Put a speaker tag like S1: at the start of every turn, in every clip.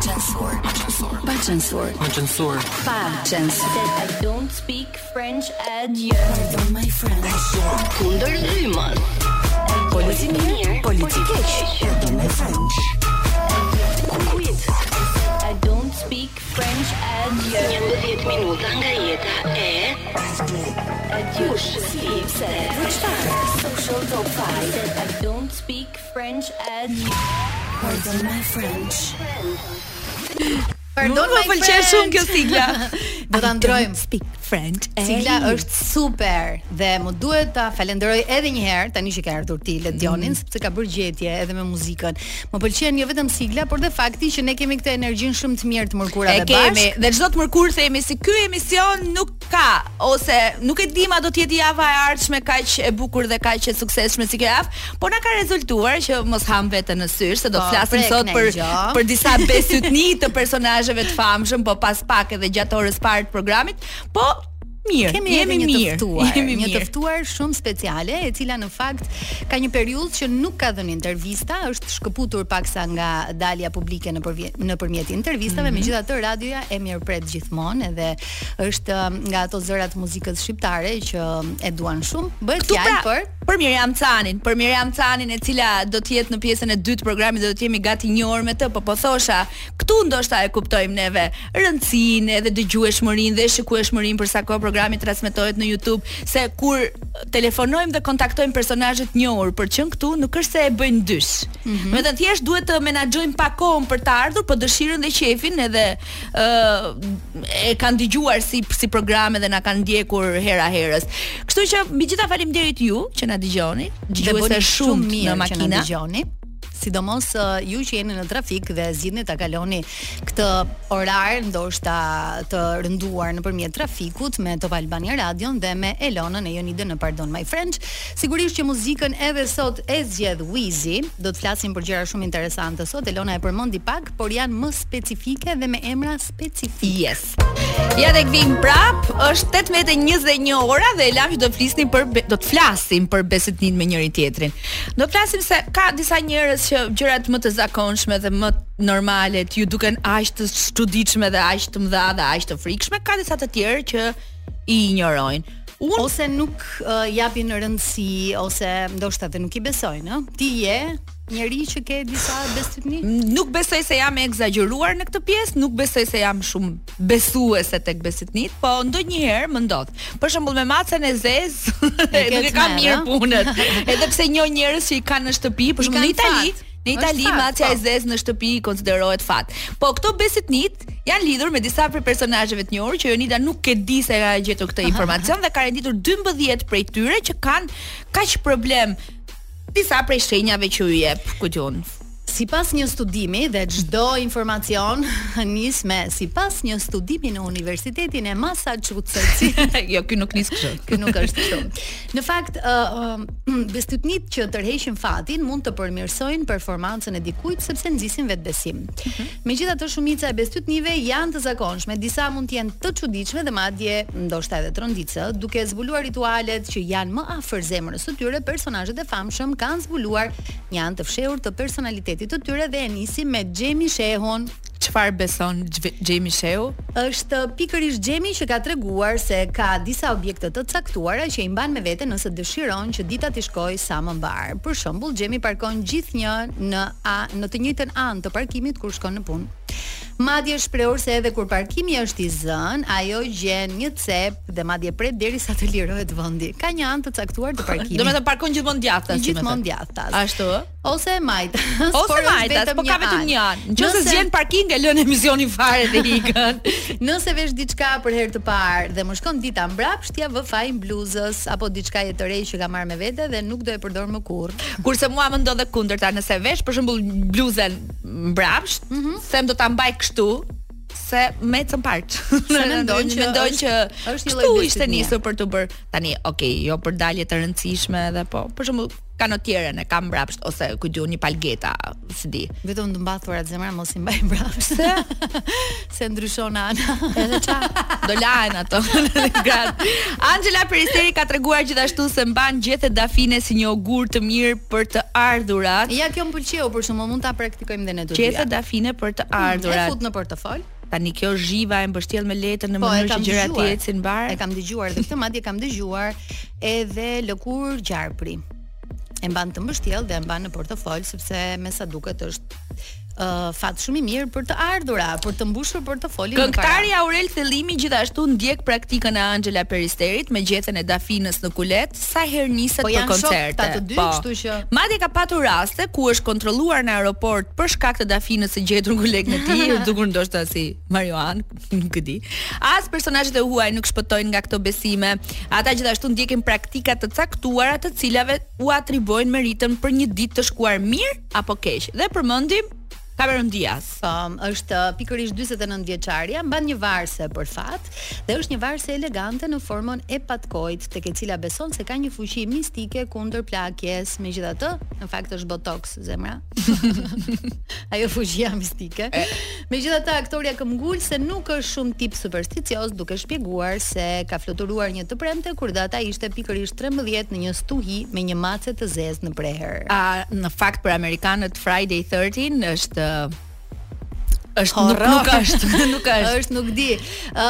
S1: censur. Pa censur. Pa censur.
S2: Më censur.
S1: Pa censur.
S3: I don't speak French at you.
S1: Pardon my friend.
S3: Kundër lymën. Polici mirë, polici keq. Quiz. I don't speak French at you. 11 minuta nga jeta e Adiush, si pse, vëqtar, social top 5 I don't speak French at you
S1: Pardon my French.
S4: Pardon,
S5: Më pëlqen shumë kjo sigla.
S4: Do ta ndrojmë.
S1: Speak French.
S5: eh?
S4: Sigla është super dhe më duhet ta falenderoj edhe një herë tani që ka ardhur ti
S5: Mm.
S4: Ledionin sepse ka bërë gjetje edhe me muzikën. Më pëlqen jo vetëm sigla, por dhe fakti që ne kemi këtë energjinë shumë të mirë të mërkura
S5: E
S4: dhe
S5: kemi
S4: bashk.
S5: dhe çdo të mërkur themi se ky emision nuk ka ose nuk e di ma do të jetë java e ardhshme kaq e bukur dhe kaq e suksesshme si kjo javë, por na ka rezultuar që mos ham veten në syr se do
S4: Po,
S5: të flasim
S4: prek
S5: sot
S4: ne
S5: për
S4: gjo.
S5: për disa besytni të personazheve të famshëm, po pas pak edhe gjatë orës parë të programit, po mirë,
S4: Kemi
S5: jemi
S4: edhe një
S5: mirë,
S4: të ftuar,
S5: jemi
S4: një të
S5: mirë.
S4: ftuar shumë speciale, e cila në fakt ka një periudhë që nuk ka dhënë intervista, është shkëputur paksa nga dalja publike në përvje- nëpërmjet
S5: Mhm.
S4: intervistave, megjithatë radioja e mirëpret gjithmonë edhe është um, nga ato zërat muzikës shqiptare që um, e duan shumë. Bëhet
S5: Këtu
S4: fjalë
S5: pra,
S4: për
S5: për Miriam Canin, për Miriam Canin e cila do të jetë në pjesën e dytë të programit dhe do të jemi gati një orë me të, po po thosha, këtu ndoshta e kuptojmë neve rëndësinë edhe dëgjueshmërinë dhe shikueshmërinë për sa kohë programi transmetohet në YouTube, se kur telefonojmë dhe kontaktojmë personazhe të njohur për çën këtu, nuk është se e bëjnë dysh. Mm -hmm.
S4: Mhm.
S5: Me të thjesht duhet të menaxhojmë pa kohën për të ardhur, po dëshirën dhe qefin edhe ë e kanë dëgjuar si si programe dhe na kanë ndjekur hera herës. Kështu që mbi gjitha faleminderit ju që na dëgjoni, dëgjuese shumë në
S4: që na
S5: makina.
S4: dëgjoni. Sidomos ë, ju që jeni në trafik dhe zgjidhni ta kaloni këtë orar ndoshta të rënduar nëpërmjet trafikut me Top Albania Radion dhe me Elonën e Jonidën në Pardon My French. Sigurisht që muzikën edhe sot e zgjedh Wizi. Do të flasim për gjëra shumë interesante sot. Elona e përmendi pak, por janë më specifike dhe me emra specifike.
S5: Yes. Ja tek vim prap, është 18:21 ora dhe e lam që do të flisni për be- do të flasim për besytnin me njëri tjetrin. Do të flasim se ka disa njerëz që gjërat më të zakonshme dhe më normale t'ju duken aq të çuditshme dhe aq të mëdha dhe aq të frikshme, ka disa të tjerë që i injorojnë. Unë
S4: Ose nuk uh, japin rëndësi ose ndoshta dhe nuk i besojnë, ë? Ti je njëri që ke disa besytni?
S5: nuk besoj se jam e egzageruar në këtë pjesë, nuk besoj se jam shumë besuese tek besitnit, po ndonjëherë më ndodh. Për shembull me macën e zez,
S4: E
S5: nuk e
S4: ke
S5: kam
S4: t'merr,
S5: mirë
S4: a?
S5: punën. Edhe pse njoh njerëz që i kanë në shtëpi,
S4: I
S5: për shembull në
S4: kanë
S5: Itali,
S4: fat.
S5: në Itali
S4: Është fat,
S5: macja
S4: po.
S5: e zez në shtëpi konsiderohet fat. Po këto besitnit janë lidhur me disa prej personazheve të njohur që Jonida nuk e di se ka gjetur këtë informacion dhe ka renditur 12 prej tyre që kanë kaq problem disa prej shenjave që ju jep, ku diun,
S4: Si pas një studimi dhe gjdo informacion nis me si pas një studimi në Universitetin e Massachusetts
S5: jo, ky nuk nis kështu.
S4: Ky nuk është kështu. Në fakt, ë uh, bestytnit që tërheqin fatin mund të përmirësojnë performancën e dikujt sepse nxisin vetbesim. Megjithatë, shumica e bestytnive janë të zakonshme, disa mund të jenë të çuditshme dhe madje ndoshta edhe trondicë, duke zbuluar ritualet që janë më afër zemrës së tyre, personazhet e famshëm kanë zbuluar një anë të fshehur të personalitetit të tyre dhe e nisim me Xhemi Shehun,
S5: Çfarë beson Gjve- Gjemi Sheu?
S4: është pikërisht Xhemi që ka treguar se ka disa objekte të caktuara që i mban me vete nëse dëshiron që dita t'i shkojë sa më mbar. Për shembull, Xhemi parkon gjithnjë në a, në të njëjtën anë të parkimit kur shkon në punë. Madje është shprehur se edhe kur parkimi është i zënë, ajo gjen një cep dhe madje pret derisa të lirohet vendi. Ka një anë të caktuar të parkimit.
S5: Do me të parkon gjithmonë djathtë. si me
S4: gjithmonë
S5: thënë.
S4: djathtas.
S5: Ashtu ë?
S4: Ose e majtas. por
S5: Ose
S4: është
S5: majtas,
S4: vetëm
S5: po ka
S4: një
S5: vetëm
S4: anë.
S5: një anë. Nëse
S4: Nëse-
S5: zgjen parking e lën emisionin fare dhe ikën.
S4: Nëse vesh diçka për herë të parë dhe më shkon dita mbrapsht, ja vë fajin bluzës apo diçka e të re që ka marrë me vete dhe nuk do e përdor më kurrë.
S5: Kurse mua më ndodhe
S4: Mhm.
S5: kundërta, nëse vesh për shembull bluzën mbrapsht, them do ta mbaj kështu se me të parç.
S4: Se mendojnë që
S5: mendojnë që
S4: është- është një lloj
S5: kështu ishte
S4: bestitnie.
S5: nisur për të bërë tani, okay, jo për dalje të rëndësishme dhe po, për shembull kanotjerën e kam mbrapsht ose ku diu një palgeta, si di.
S4: Vetëm të mbathurat zemra mos i mbaj mbrapsht. Se se ndryshon ana.
S5: Edhe ça? Do lahen ato grat. Angela Peristeri ka treguar gjithashtu se mban gjethe dafine si një ogur të mirë për të ardhurat.
S4: Ja kjo më pëlqeu për shkakun mund ta praktikojmë dhe ne të dyja.
S5: Gjethe dafine për të
S4: Mm, E
S5: ardhurat.
S4: fut në portofol.
S5: Tani kjo zhiva e mbështjell me letër në
S4: Po, e
S5: mënyrë
S4: kam
S5: që gjërat
S4: dëgjuar.
S5: të ecin mbar.
S4: E kam dëgjuar dhe këtë madje kam dëgjuar edhe lëkur gjarpri. E mban të mbështjellë dhe e mban në portofol sepse me sa duket është uh, fat shumë i mirë për të ardhura, për të mbushur portofolin me para.
S5: Këngëtari Aurel Thellimi gjithashtu ndjek praktikën e Angela Peristerit me gjethen e dafinës në kulet sa herë niset
S4: Po,
S5: për
S4: janë shok
S5: koncerte. Po.
S4: ta të dy, kështu që-
S5: Madje ka patur raste ku është kontrolluar në aeroport për shkak të dafinës së gjetur në kulet në tij, dukur ndoshta si marijuan, nuk e di. As personazhet e huaj nuk shpëtojnë nga këto besime. Ata gjithashtu ndjekin praktika të caktuara të cilave u atribojnë meritën për një ditë të shkuar mirë apo keq. Dhe përmendim Cameron Diaz.
S4: Po, është uh, pikërisht 49 vjeçaria, mban një varse për fat dhe është një varse elegante në formën e patkojt, tek e cila beson se ka një fuqi mistike kundër plakjes. Megjithatë, në fakt është botox zemra. Ajo fuqia mistike. Megjithatë, aktoria këmbgul se nuk është shumë tip supersticioz, duke shpjeguar se ka fluturuar një të premte kur data ishte pikërisht 13 në një stuhi me një mace të zezë në preher.
S5: A në fakt për amerikanët Friday 13 është është nuk,
S4: Horror.
S5: nuk është, nuk është.
S4: Është nuk di. Ë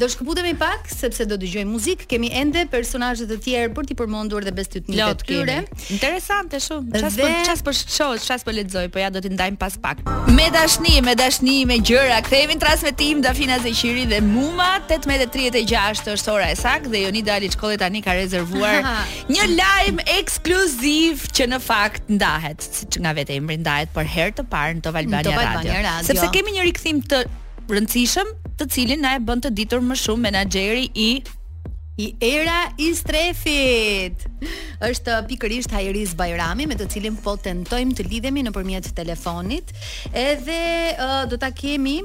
S4: do shkëputemi pak sepse do dëgjojmë muzikë. Kemi ende personazhe të tjerë për t'i përmendur dhe bestytnitë
S5: Plot
S4: të tyre.
S5: Interesante shumë. Ças
S4: Dhe-
S5: po ças po shoh, ças po lexoj, po ja do t'i ndajmë pas pak. Me dashni, me dashni, me gjëra. Kthehemi në transmetim Dafina Zeqiri dhe Muma 18:36 është ora e saktë dhe Jonida Ali Çkolli tani ka rezervuar një lajm ekskluziv që në fakt ndahet, siç nga vetë emri ndahet për herë të parë në Top Albania,
S4: Top Albania Radio.
S5: Sepse kemi një rikthim të rëndësishëm, të cilin na e bën të ditur më shumë menaxheri i
S4: I era i strefit. Është pikërisht Hajris Bajrami me të cilin po tentojmë të lidhemi nëpërmjet telefonit. Edhe ë, do ta kemi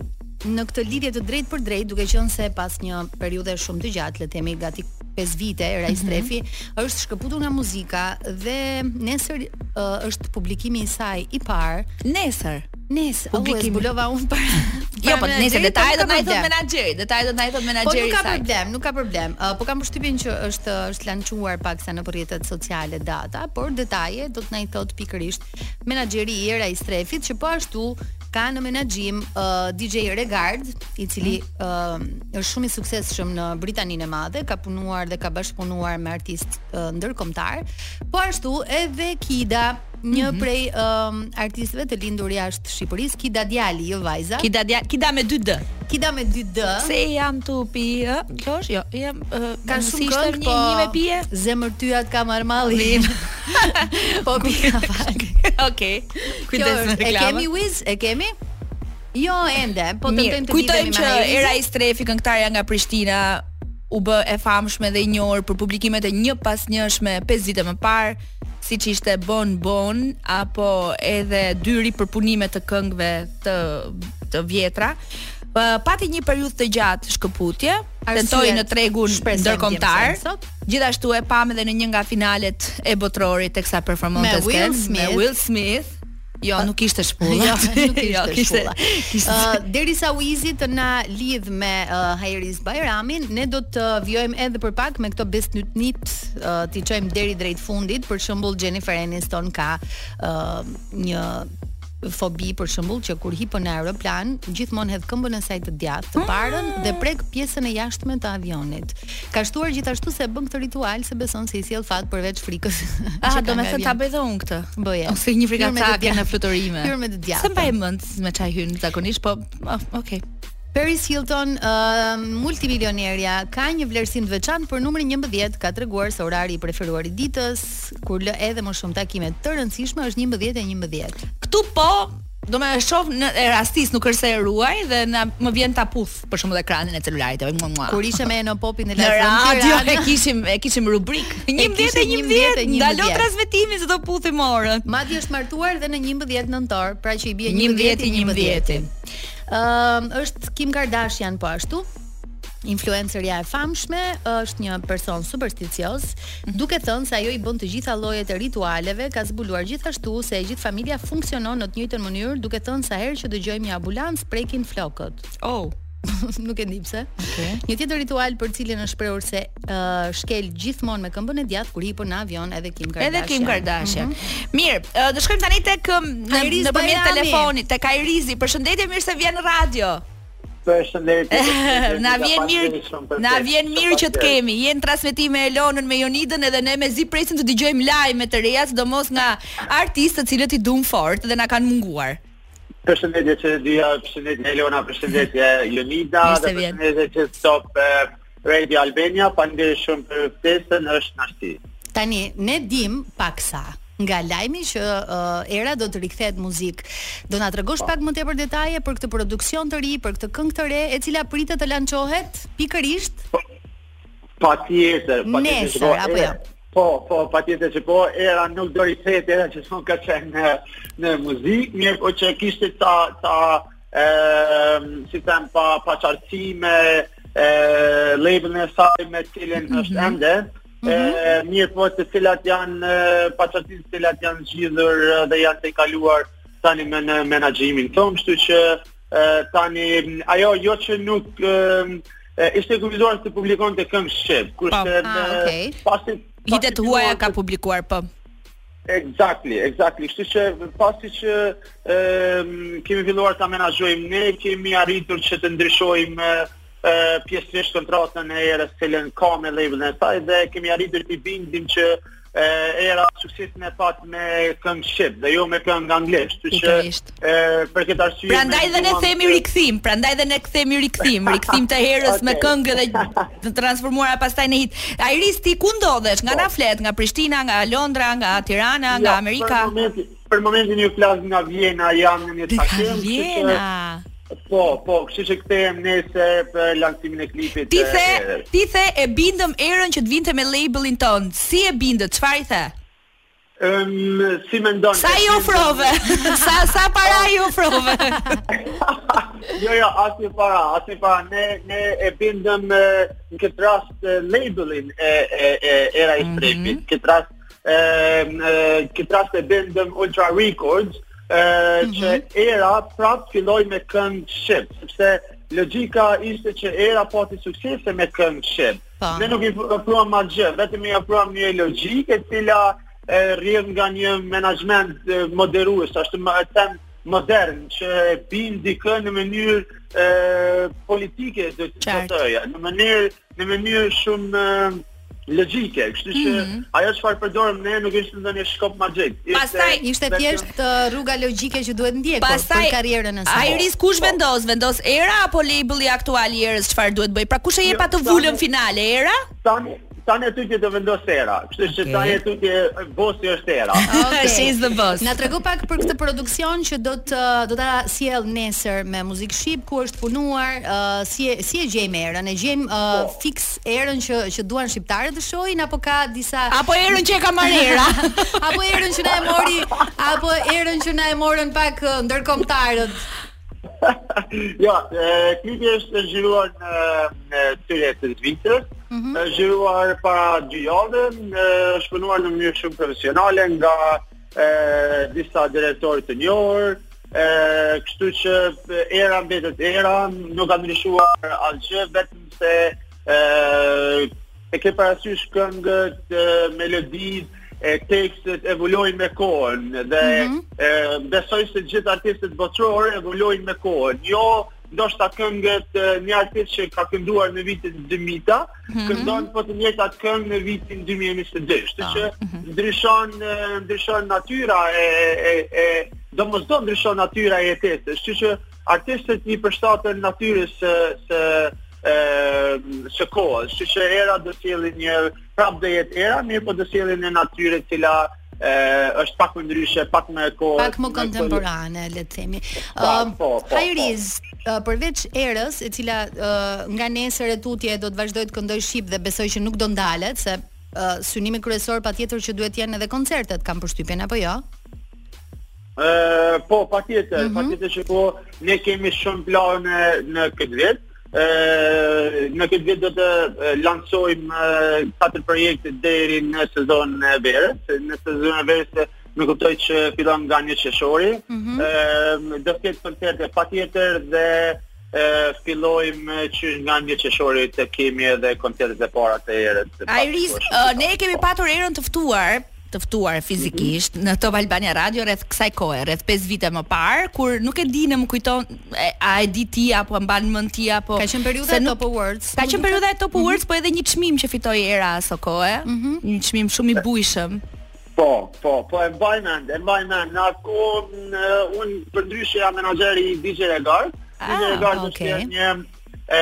S4: në këtë lidhje të drejtë për drejtë, duke qenë se pas një periudhe shumë të gjatë, le të themi gati 5 vite, Era
S5: Mhm.
S4: i Strefi është shkëputur nga muzika dhe nesër ë, është publikimi i saj i parë
S5: Nesër.
S4: Nes, publikimi.
S5: Publikimi.
S4: u e zbulova unë para.
S5: Jo, po
S4: para
S5: nëse
S4: menaxherit,
S5: detajet do na i thot menaxheri, detajet do
S4: po nuk ka problem.
S5: na i thot
S4: Po nuk
S5: menaxheri
S4: ka
S5: i saj.
S4: problem, nuk ka problem. Uh, po kam përshtypjen që është është lançuar paksa në rrjetet sociale data, por detaje do të na i thot pikërisht menaxheri i Era i Strefit që po ashtu ka në menaxhim uh, DJ Regard, i cili uh, është shumë i suksesshëm në Britaninë e Madhe, ka punuar dhe ka bashkëpunuar me artistë uh, ndërkombëtar, po ashtu edhe Kida, një prej um, artistëve të lindur jashtë Shqipërisë, Kida djali, jo vajza. Kida,
S5: Kida dja, kida me 2D.
S4: me 2D.
S5: Se jam tu pi, ë? Kjo është jo, jam ë,
S4: Ka
S5: mos
S4: shumë
S5: ishte një-
S4: këngë, po
S5: një me pije.
S4: Zemër tyat ka marmallin. po pika pak.
S5: Okej.
S4: Kjo
S5: Kujdes me
S4: është. E
S5: reklamën.
S4: kemi Wiz, e kemi? Jo ende, po tentojmë të
S5: kujtojmë
S4: lidhemi me
S5: që
S4: Haizin.
S5: era i strefi këngëtarja nga Prishtina u bë e famshme dhe e njohur për publikimet e një pas njëshme 5 vite më parë, siç ishte Bon Bon apo edhe dy ripërpunime të këngëve të të vjetra. Ë, Pati një periudhë të gjatë shkëputje,
S4: Arsyet
S5: tentoi në tregun
S4: shpresojmë t'jem
S5: ndërkombëtar.
S4: sot.
S5: Gjithashtu e pam edhe në një nga finalet e botrorit teksa performonte
S4: Me
S5: sketch
S4: Will
S5: me
S4: Smith.
S5: Will Smith. Jo, nuk ishte shpulla.
S4: Jo, nuk ishte
S5: Jo, kishte-
S4: shpulla.
S5: kishte-
S4: Ë, derisa Wizi të na lidh me uh, Hairis Bajramin, ne do të vijojmë edhe për pak me këto besnitnit, uh, ti çojmë deri drejt fundit, për shembull Jennifer Aniston ka uh, një fobi për shembull që kur hipën në aeroplan gjithmonë hedh këmbën e saj të djathtë të parën dhe
S5: Mm.
S4: prek pjesën e jashtme të avionit. Ka shtuar gjithashtu se bën këtë ritual se beson se i sjell fat përveç frikës.
S5: Ah,
S4: që
S5: do
S4: ka
S5: me
S4: nga
S5: thënë ta
S4: avioni.
S5: bëj dhe unë këtë.
S4: Bëje.
S5: Ose një
S4: Hyrë me të
S5: frikacake
S4: djathtë.
S5: në fluturime.
S4: Hyrë me të Po. djathtë.
S5: Se mbaj mend me çaj hyn zakonisht, po ah, okay.
S4: Paris Hilton, uh, multimilionerja, ka një vlerësim të veçantë për numrin 11, ka treguar se orari i preferuar i ditës, kur lë edhe më shumë takime të rëndësishme është 11 e 11.
S5: Ktu po Do me e shoh në e rastis nuk është se e ruaj dhe na më vjen ta puth për shembull ekranin e celularit. e Mua mua.
S4: Kur ishe me Eno Popin
S5: në
S4: në Lazan
S5: radio e
S4: Tiranë,
S5: kishim e kishim rubrik 11 e
S4: kishim
S5: 11
S4: 11.
S5: ndalo transmetimi se do puthim orën.
S4: madje është martuar dhe në 11 nëntor, pra që i bie
S5: 11 i
S4: 11 i
S5: 11.
S4: 11. Ëm është Kim Kardashian po ashtu influencerja e famshme është një person supersticioz, duke thënë se ajo i bën të gjitha llojet e ritualeve, ka zbuluar gjithashtu se e gjithë familja funksionon në të njëjtën mënyrë, duke thënë sa herë që dëgjojmë një ambulancë prekin flokët.
S5: Oh.
S4: Nuk e di pse.
S5: Okej.
S4: Një tjetër ritual për cilin është shprehur se ë, shkel gjithmonë me këmbën e djathtë kur hipon në avion edhe Kim Kardashian.
S5: Edhe Kim Kardashian. Mirë, ë, do shkojmë tani tek ëm, në-
S4: Airis
S5: nëpërmjet
S4: Bajrami.
S5: telefonit, tek Airizi. Përshëndetje, mirë se vjen në radio.
S2: Përshëndetje.
S5: Na vjen mirë, na vjen mirë që të kemi. Jen transmetime me Elonën, me Jonidën edhe ne me zi presim të dëgjojmë lajme të reja, sidomos nga artistë të cilët i duam fort dhe na kanë munguar.
S2: Përshëndetje që dyja, përshëndetje Elona, përshëndetje Jonida,
S5: Mirë se
S2: dhe
S5: vjen.
S2: përshëndetje që top e, Radio Albania, pandiri shumë për ftesën, është nashti.
S4: Tani ne dim paksa nga lajmi që uh, era do të rikthehet muzik. Do na tregosh
S5: Po.
S4: pak më tepër detaje për këtë produksion të ri, për këtë këngë të re e cila pritet të lançohet pikërisht
S2: Pa tjetër, pa tjetër
S4: Nesër,
S2: që po,
S4: apo
S2: era-
S4: jo?
S2: Po, po, pa tjetër që po, era nuk do rikthehet era që s'on ka qenë në, në muzikë, mirë po që kishte ta, ta, e, si them, pa, pa qartësime, e, labelin e saj me cilin është ende, e, mirë po të cilat janë, e, pa qartësime të cilat janë zgjidhur e, dhe janë të i kaluar tani me në menagjimin tonë, kështu që e, tani ajo jo që nuk e, e, ishte kuvizuar të publikon të këngë Shqip, kurse
S4: Ah,
S2: në-
S4: okay.
S2: pasi
S5: Hitet
S2: pasi
S5: huaja
S2: filluan
S5: ka
S2: të-
S5: publikuar po.
S2: Exactly, exactly. Kështu që pasi që um, kemi filluar ta menaxhojmë ne, kemi arritur që të ndryshojmë e, e, pjesërisht kontratën e erës që lën ka me labelin e saj dhe kemi arritur të bindim që e, era suksesin e pat me këngë shqip dhe jo me këngë anglisht. Kështu që
S5: Pikërisht.
S2: e, për këtë arsye
S5: Prandaj dhe ne
S2: menduam
S5: themi
S2: që-
S5: rikthim, prandaj dhe ne kthemi rikthim, rikthim të herës me
S2: Okej.
S5: këngë dhe të transformuara pastaj në hit. Airis ti ku ndodhesh?
S2: Po.
S5: Nga na flet, nga Prishtina, nga Londra, nga Tirana, nga
S2: Ja,
S5: Amerika.
S2: Jo, Për momentin, për momentin ju flas nga Vjena, jam në një
S5: Nga
S2: takim. kështu që-
S5: Vjena.
S2: Po, po, kështu që kthehem nesër për lansimin e klipit.
S5: Ti
S2: e,
S5: the,
S2: e,
S5: ti the e bindëm erën që të vinte me labelin ton. Si e bindët? Çfarë i the?
S2: Ëm, si mendon?
S5: Sa i ofrove? sa sa para i ofrove?
S2: jo, jo, asnjë para, asnjë para. Ne ne e bindëm e, në këtë rast e, labelin e e e era
S5: Mhm.
S2: i strepit. Këtë rast e, e këtë rast e bindëm Ultra Records, e, që
S5: Mhm.
S2: era prap filloi me këngë shqip, sepse logjika ishte që era pati suksese me këngë shqip.
S4: Po.
S2: Ne nuk i ofruam ma gjë, vetëm i ofruam një logjikë e cila e, rrjedh nga një menaxhment e, moderues, ashtu më e them modern që e bin dikë në mënyrë e, politike do të
S5: Qartë.
S2: thotë, në mënyrë në mënyrë shumë e, logjike, kështu që ajo çfarë përdorim ne nuk ishte ndonjë shkop magjik. Ishte-
S5: Pastaj
S4: ishte
S2: vetëm-
S4: thjesht ë, rruga logjike që duhet ndjekur
S5: Pastaj
S4: Po, për karrierën e saj. Po.
S5: Iris kush vendos? Vendos era apo labeli aktual i erës çfarë duhet bëj? Pra kush e jep
S2: Jo,
S5: atë
S2: tani-
S5: vulën finale, era?
S2: tani tani tutje do vendos era. Kështu që
S5: Okej.
S2: tani tutje bosi është era.
S4: Okej.
S5: She's the boss.
S4: Na tregu pak për këtë produksion që do të uh, do ta sjell nesër me muzikë shqip, ku është punuar, ë, si e, si e gjejmë erën? E gjejmë ë,
S5: Po.
S4: fiks erën që që duan shqiptarët të shohin apo ka disa
S5: Apo erën që e ka marrë era?
S4: apo erën që na e mori, apo erën që na e morën pak ë, ndërkombëtarët.
S2: ja, Jo, e, klipi është zhvilluar në, në tyre të Zvicrës, është zhvilluar para dy javë, e, është punuar në mënyrë shumë profesionale nga e, disa drejtorë të njohur, e, kështu që e, era mbetet era, nuk ka ndryshuar asgjë, vetëm se e, e ke parasysh këngët, e, melodit, e tekstet evolojnë me kohën dhe e, besoj se gjithë artistët botëror evolojnë me kohën. Jo ndoshta këngët e, një artist që ka kënduar në vitin 2000-ta, këndon po të njëjtat këngë në vitin 2022, kështu që ndryshon e, ndryshon natyra e e e domosdoshmë ndryshon natyra e jetesës. Kështu që artistët i përshtaten natyrës së së ë së kohës, që që era do sjellin një prap do jetë era, mirë po do sjellin një natyrë e cila ë është pak më ndryshe, pak më e kohës.
S4: pak më
S2: me
S4: kontemporane, le të themi. Um,
S2: Po,
S4: Ëm,
S2: po, po,
S4: Hajriz, ë, uh, përveç erës, e cila ë, nga nesër e tutje do të vazhdoj të këndoj shqip dhe besoj që nuk do ndalet, se uh, ë, synimi kryesor patjetër që duhet jenë edhe koncertet, kam përshtypjen apo jo?
S2: Ë, po, patjetër,
S5: Mhm.
S2: patjetër që po ne kemi shumë plane në këtë vit. Ë, në këtë vit do të e, lansojmë e, katër projekte deri në sezonin e verës. Se Në sezonin e verës e, Më kuptoj që fillon nga një qeshori. Ë,
S5: Mhm.
S2: do të ketë koncerte patjetër dhe e, fillojmë e, që nga një qeshori të kemi edhe koncertet e para të erës.
S5: Iris, ë, ne e kemi patur erën të ftuar të ftuar fizikisht në Top Albania Radio rreth kësaj kohe, rreth 5 vite më parë, kur nuk e di, në më kujton e, a e di ti apo e mban mend ti apo
S2: Po,
S4: Ka qenë Mm-hmm. periudha
S5: se
S4: e
S5: nuk-
S4: Top Awards.
S5: Ka
S4: Më
S5: qenë
S4: duket?
S5: periudha e Top Awards, po edhe një çmim që fitoi era aso kohë,
S4: Mm-hmm.
S5: një çmim shumë i bujshëm.
S2: Po, po, po e mbaj mend, e mbaj mend. Në atë kohë në, unë për ndryshe jam menaxheri i DJ Regard.
S5: Ah,
S2: DJ Regard
S5: okay.
S2: është një e,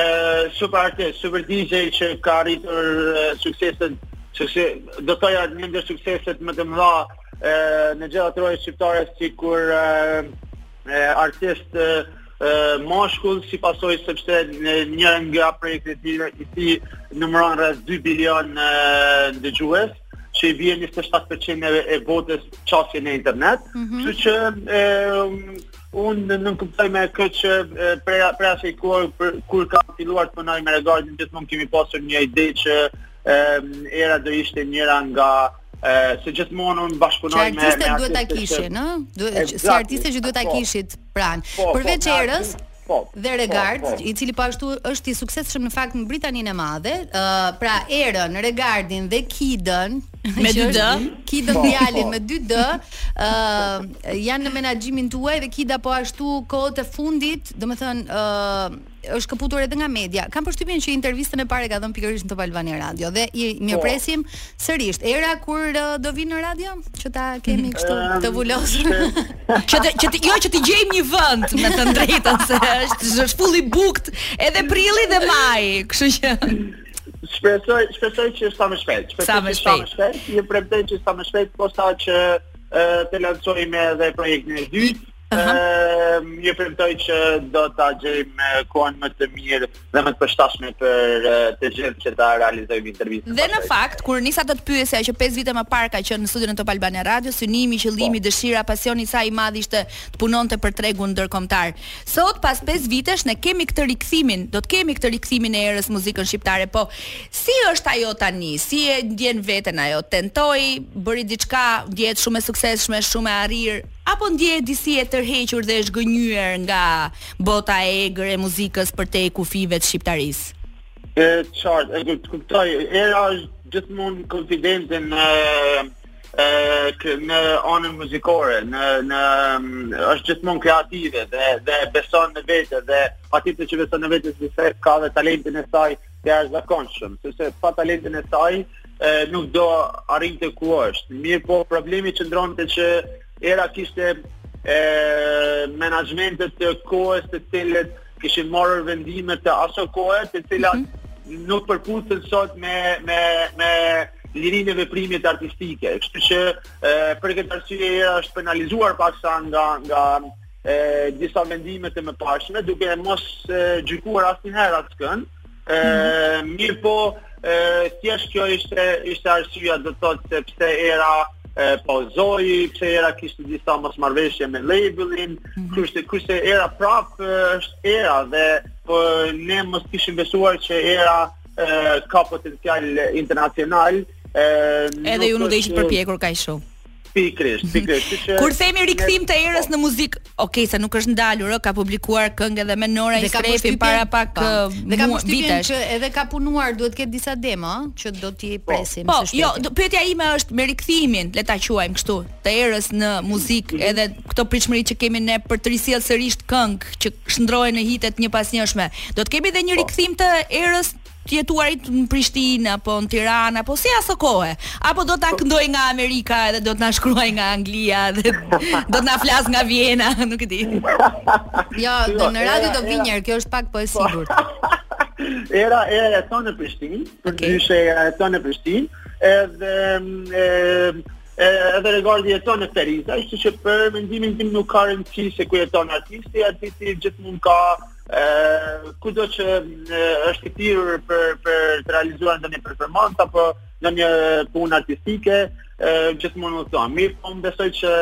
S2: super artist, super DJ që ka arritur e, sukseset, sukses, do të thoja një ndër sukseset më të mëdha e, në gjithë atë rojë shqiptare sikur e, e, artist e, e, moshkull si pasoj sepse në një nga projektet e tij i tij numëron rreth 2 bilion e, dëgjues që i bie 27% e, e botës qasje në internet.
S4: Mhm.
S2: Kështu që e, um, unë nuk kuptoj me këtë që e, prea prea se kur për- kur kam filluar të punoj me regardin gjithmonë kemi pasur një ide që e, um, era do ishte njëra nga e, se gjithmonë unë
S4: Që
S2: bashkëpunoj me me
S4: artistet duhet ta
S2: artiste që-
S4: kishin, ëh? Duhet që- si
S2: Exactly,
S4: artiste që duhet ta
S2: po.
S4: kishit pranë.
S2: Po, po,
S4: Përveç
S2: me
S4: erës,
S2: artist- po,
S4: dhe
S2: po,
S4: Regard,
S2: po.
S4: i cili po ashtu është i suksesshëm në fakt në Britaninë e Madhe, ë pra Erën, Regardin dhe Kidën
S5: Me
S4: që
S5: 2D.
S4: është Kidën
S2: Po,
S4: djalin
S2: po.
S4: me 2D, ë janë në menaxhimin tuaj dhe Kida po ashtu kohët e fundit, domethënë ë është këputur edhe nga media. Kam përshtypjen që intervistën e parë e ka dhënë pikërisht në Top Albania Radio dhe i
S2: Po.
S4: mirpresim sërish era kur ë, do vinë në radio që ta kemi kështu të vulosur.
S5: Që të, që të, jo që të gjejmë një vend me të drejtën se është është full i bukt edhe prilli dhe maji, kështu që
S2: Shpresoj, shpresoj që sa më shpejt. Shpresoj
S5: Sa më
S2: që
S5: shpejt.
S2: shpejt. Ju premtoj që sa më shpejt, posa që e, të lancojmë edhe projektin e dytë. Ëm ju premtoj që do ta gjejmë e, kohën më të mirë dhe më të përshtatshme për e, të gjithë që ta realizojmë intervistën.
S5: Dhe në
S2: pastaj.
S5: fakt, kur Nisa do të pyesja që 5 vite më parë ka qenë në studion e Top Albania Radio, synimi, qëllimi, dëshira, pasioni i saj i madh ishte të punonte për tregun ndërkombëtar. Sot pas 5 vitesh ne kemi këtë rikthimin, do të kemi këtë rikthimin e erës muzikën shqiptare, po si është ajo tani? Si e ndjen veten ajo? Tentoi, bëri diçka, ndjehet shumë e suksesshme, shumë e arrir, apo ndjehet disi e tërhequr dhe e zhgënjur nga bota e egër e muzikës për te kufive të shqiptarisë?
S2: E qartë, e kupt- kuptoj, era është gjithmonë konfidente në e, kë- në anën muzikore, në në mm, është gjithmonë kreative dhe dhe beson në vete dhe patjetër që beson në vete sepse ka dhe talentin e saj të jashtëzakonshëm, sepse pa talentin e saj e, nuk do arrinte ku është. Mirë po problemi qëndronte që era kishte e menaxhmentet të kohës të cilët kishin marrë vendime të aso kohe të cilat nuk përputhen sot me me me lirinë e veprimit artistike. Kështu që e, për këtë arsye era është penalizuar paksa nga nga e, disa vendime të mëparshme duke mos e, gjykuar asnjëherë atkën. Ë mirë po e, thjesht kjo ishte ishte arsyeja do të thotë se pse era e, pauzoi, pse era kishte disa mosmarrveshje me labelin,
S5: Mhm.
S2: kurse kurse era prap e, është era dhe po ne mos kishim besuar që era e, ka potencial internacional. E,
S5: Edhe ju nuk do ishit përpjekur kaq shumë.
S2: Pikrisht, pikrisht. Kështu që-
S5: Kur themi rikthim të erës në muzikë, okay, se nuk është ndalur, ë, ka publikuar këngë edhe me Nora i
S4: Dhe ka
S5: Strepi
S4: përshtypjen-
S5: para pak
S4: po.
S5: ë,
S4: Dhe ka
S5: mua-
S4: përshtypjen
S5: vitesh.
S4: që edhe ka punuar, duhet ketë disa demo ëh, që do t'i presim
S5: Po,
S4: së shpejti.
S5: jo, do- pyetja ime është me rikthimin, le ta quajmë kështu, të erës në muzikë, edhe këto pritshmëri që kemi ne për të risjell sërish këngë që shndrohen në hitet një pas njëshme. Do të kemi edhe
S4: Po.
S5: një rikthim të erës të jetuarit në Prishtinë apo në Tiranë apo si aso kohë. Apo do ta
S4: Po.
S5: këndoj nga Amerika edhe do të na shkruaj nga Anglia dhe do të na flas nga Vjena, nuk e di.
S4: Jo,
S2: Jo,
S4: do në
S2: era-
S4: radio do vi
S2: era-
S4: njerë, kjo është pak po e sigurt.
S2: era era e tonë në Prishtinë, për okay. dyshe era e tonë në Prishtinë, edhe mm, e, edhe regardi e tonë në Ferizë, kështu që për mendimin tim nuk ka rëndësi se ku jeton artisti, artisti gjithmonë ka e, kudo që e, është i thirrur për për të realizuar ndonjë performancë apo ndonjë punë artistike, e, gjithmonë më thonë. Mirë, po më besoj që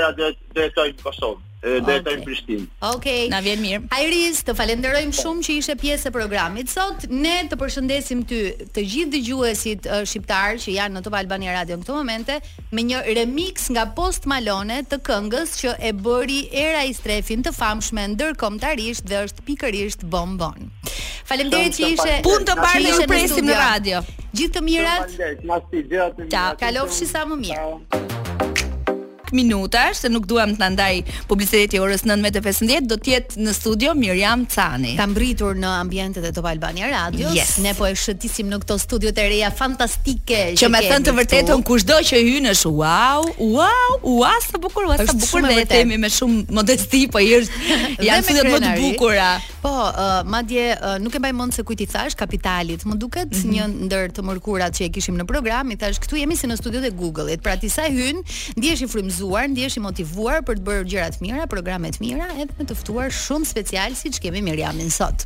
S2: era do do jetoj në Kosovë, e, do jetoj
S4: Okej.
S2: në Prishtinë.
S4: Okej.
S5: Na vjen mirë.
S4: Iris, të falenderojmë shumë që ishe pjesë e programit. Sot ne të përshëndesim ty, të gjithë dëgjuesit uh, shqiptar që janë në Top Albania Radio në këto momente me një remix nga Post Malone të këngës që e bëri Era i Strefin të famshme ndërkombëtarisht dhe është pikërisht bombon. Faleminderit që
S2: Shumë, shumë
S4: ishe.
S2: faleminderit.
S5: Punë të
S4: që
S5: parë
S4: ishe
S5: ju presim në
S4: studio.
S5: radio.
S4: Gjithë të mirat. Ciao,
S2: Ciao,
S4: kalofshi sa më mirë.
S5: minutash se nuk duam të na ndaj publiciteti orës 9:15 do të jetë në studio Miriam Cani.
S4: Kam mbritur në ambientet e Top Albania Radios.
S5: Yes.
S4: Ne po e shëtisim në këto studio të reja fantastike
S5: Që me
S4: kemi
S5: thënë të
S4: këtu.
S5: vërtetën kushdo që hyn është wow, wow, wow, sa bukur, wow, sa
S4: Është
S5: bukur
S4: shumë e
S5: dhe e
S4: vërtetë.
S5: themi me shumë modesti, po i është
S4: Dhe me
S5: janë studiot më të
S4: krenari.
S5: bukura.
S4: Po, uh, madje uh, nuk e mbaj mend se kujt i thash kapitalit. Më duket
S5: Mhm.
S4: një ndër të mërkurat që e kishim në program, i thash këtu jemi si në studiot e Google-it. Pra ti sa hyn, ndihesh i frymëzuar, ndihesh i motivuar për të bërë gjëra të mira, programe të mira, edhe me të ftuar shumë special siç kemi Miriamin sot.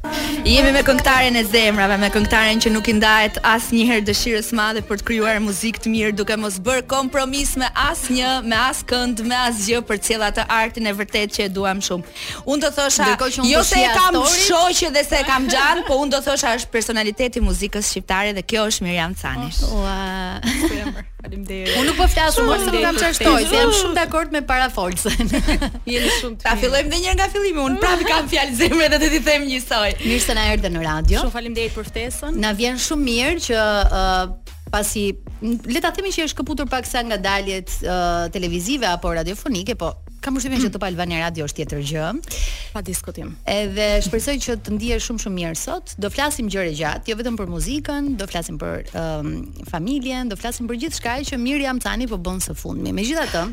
S5: Jemi me këngëtaren e zemrave, me këngëtaren që nuk i ndahet asnjëherë dëshirës së madhe për të krijuar muzikë të mirë, duke mos bërë kompromis me asnjë, me as kënd, me asgjë për të cilë atë artin e vërtet që e duam shumë. Unë do thosha,
S4: Ndërkohë që unë
S5: jo
S4: po
S5: se e
S4: shija
S5: kam
S4: story-t.
S5: shoqë dhe se e kam xhan, po unë do thosha është personaliteti i muzikës shqiptare dhe kjo është Miriam Cani.
S4: Oh, Ua.
S6: Faleminderit.
S4: Unë nuk po flas
S6: Shumë
S4: më se nuk kam
S6: faleminderit
S4: çfarë
S6: për
S4: shtoj, se jam
S6: ftesën.
S4: shumë dakord me parafolsen.
S6: Jeni shumë të
S5: Ta
S6: mirë.
S5: fillojmë dhe njërë nga fillimi, unë prapë kam fjalë zemre dhe do t'i them njësoj.
S4: Mirë se na erdhe në radio.
S6: Shumë faleminderit për ftesën.
S4: Na vjen shumë mirë që uh, pasi n- le ta themi që është shkëputur paksa nga daljet uh, televizive apo radiofonike, po kam përshtypjen që Top Albania Radio është tjetër gjë.
S6: Pa diskutim.
S4: Edhe shpresoj që të ndihesh shumë shumë mirë sot. Do flasim gjëre gjatë, jo vetëm për muzikën, do flasim për um, familjen, do flasim për gjithçka që Miriam Cani po bën së fundmi. Megjithatë,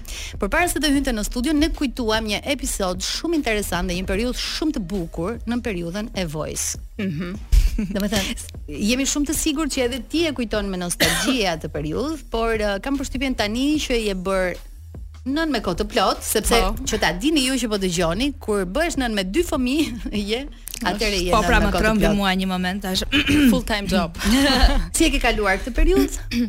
S4: përpara se të hynte në studio, ne kujtuam një episod shumë interesant dhe një periudhë shumë të bukur në periudhën e Voice. Do me thënë, jemi shumë të sigurt që edhe ti e kujton me nostalgji atë periudhë, por uh, kam përshtypjen tani që je bër nën me kohë të plot, sepse
S5: Po.
S4: që ta dini ju që po dëgjoni, kur bëhesh nën me dy fëmijë, je atëre je
S5: Po
S4: nën
S5: pra
S4: me
S5: më
S4: kohë të
S5: trombi
S4: plot.
S5: mua një moment tash.
S6: Full time job.
S4: Si e ke kaluar këtë periudhë?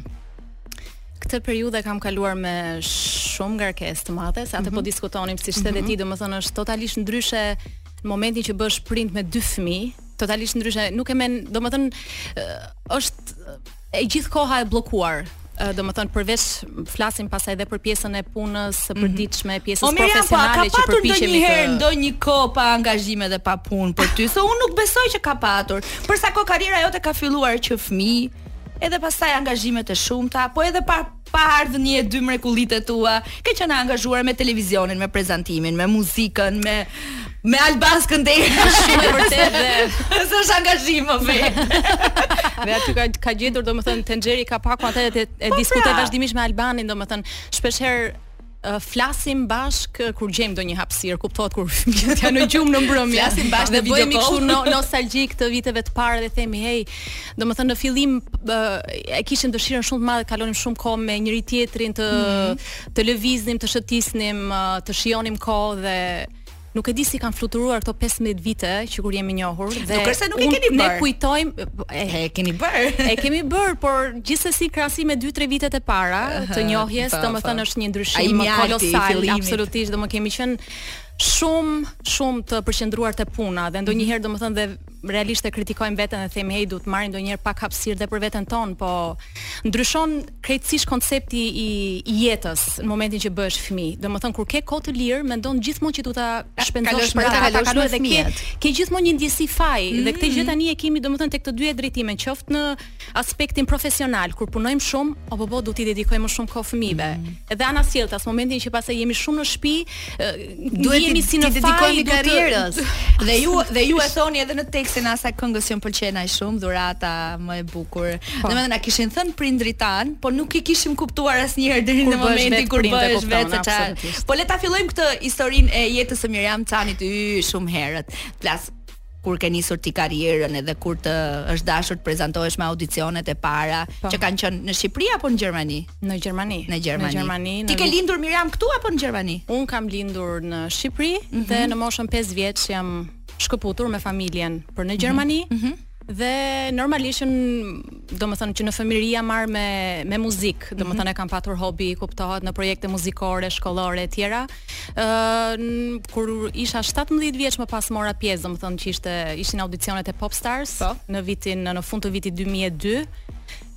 S6: Këtë periudhë e kam kaluar me shumë ngarkesë të madhe, se atë po
S5: Mhm.
S6: diskutonim siç the dhe ti, domethënë është totalisht ndryshe në momentin që bësh print me dy fëmijë, totalisht ndryshe, nuk e men, domethënë ë, është e gjithë koha e bllokuar. Ë, domethënë përveç flasim pasaj edhe për pjesën e punës së përditshme, pjesës
S5: Mhm. O Miriam, po a
S6: profesionale
S5: ka
S6: që
S5: patur
S6: përpiqemi
S5: ndonjëherë
S6: të
S5: ndonjë kohë pa angazhime dhe pa punë për ty? Se unë nuk besoj që ka patur. Për sa kohë karriera jote ka filluar që fëmijë, edhe pastaj angazhimet e shumta, po edhe pa pa ardhën një e dy mrekullitë tua, ke qenë e angazhuar me televizionin, me prezantimin, me muzikën, me me Alban Skënderi.
S6: shumë e vërtetë dhe
S5: Së është angazhim më vetë.
S6: Dhe aty ka ka gjetur domethënë tenxheri ka paku atë e, e diskutoj
S5: pra.
S6: vazhdimisht me Albanin domethënë shpesh herë ë, flasim bashk ë, kur gjejmë ndonjë hapësirë, kuptohet kur fëmijët janë në gjumë në mbrëmje.
S5: Flasim bashkë
S6: dhe
S5: në video
S6: bëhemi kështu
S5: call.
S6: no, nostalgjik të viteve të parë dhe themi, "Hey, domethënë në fillim ë, e kishim dëshirën shumë të madhe, kalonim shumë kohë me njëri tjetrin të
S5: Mhm.
S6: të lëviznim, të shëtisnim, ë, të shijonim kohë dhe Nuk e di si kanë fluturuar këto 15 vite që kur jemi njohur dhe
S5: Nuk është se nuk e
S6: unë-
S5: keni
S6: Ne
S5: bërë.
S6: kujtojmë e,
S5: E keni bërë.
S6: E kemi bër, por gjithsesi krahasim me 2-3 vitet e para të njohjes,
S5: po,
S6: domethënë
S5: po.
S6: është një
S5: Ai
S6: ndryshim
S5: mjalti i
S6: kolosal,
S5: fillimit.
S6: absolutisht, domethënë kemi qenë shumë shumë të përqendruar te puna dhe ndonjëherë domethënë dhe realisht e kritikojmë veten dhe themi hey duhet të marrim ndonjëherë pak hapësirë dhe për veten ton, po ndryshon krejtësisht koncepti i, i jetës në momentin që bëhesh fëmijë. Domethënë kur ke kohë të lirë, mendon gjithmonë që duhet ta shpenzosh
S4: kalosh për ta
S6: ata,
S4: kalosh
S6: kalosh
S4: me
S6: dhe ke
S4: fëmijët. Mm-hmm.
S6: ke gjithmonë një ndjesi faj dhe këtë gjë tani e kemi domethënë tek të dyja drejtime, qoftë në aspektin profesional kur punojmë shumë, apo po duhet i dedikojmë më shumë kohë fëmijëve.
S4: Mm-hmm.
S6: Edhe ana sjelltas, momentin që pastaj jemi shumë në shtëpi,
S4: Duhet
S6: jemi
S4: t'i-
S6: si në
S4: t'i
S6: faj,
S4: dedikohemi
S6: duhet të-
S4: karrierës.
S5: Dhe ju dhe ju e thoni edhe në tekstin e asaj këngës që më pëlqen ai shumë, dhurata më e bukur.
S6: Po.
S5: Domethënë na kishin thënë prindrit tan, po nuk i kishim kuptuar asnjëherë deri
S6: Kur
S5: në
S6: bëhesh
S5: momentin
S6: vetë
S5: kur
S6: prind e
S5: bëhesh
S6: kupton,
S5: vetë se çfarë.
S6: absolutisht.
S5: Po le ta fillojmë këtë historinë e jetës së Miriam Canit y shumë herët. Plas kur ke nisur ti karrierën edhe kur të është dashur të prezantohesh me audicionet e para
S6: Po.
S5: që kanë qenë në Shqipëri apo në Gjermani?
S6: në Gjermani.
S5: Në Gjermani.
S6: Në Gjermani.
S5: Ti
S6: në
S5: ke lindur Miriam këtu apo në Gjermani?
S6: Un kam lindur në Shqipëri dhe në moshën 5 vjeç jam shkëputur me familjen për në Gjermani. Dhe normalisht në- do më thënë që në fëmijëri jam marrë me me muzikë, do më thënë e kam patur hobi, kuptohet në projekte muzikore, shkollore e tjera. Ë n- kur isha 17 vjeç më pas mora pjesë, do më thënë që ishte ishin audicionet e Pop Stars
S5: Po.
S6: në vitin në fund të vitit 2002.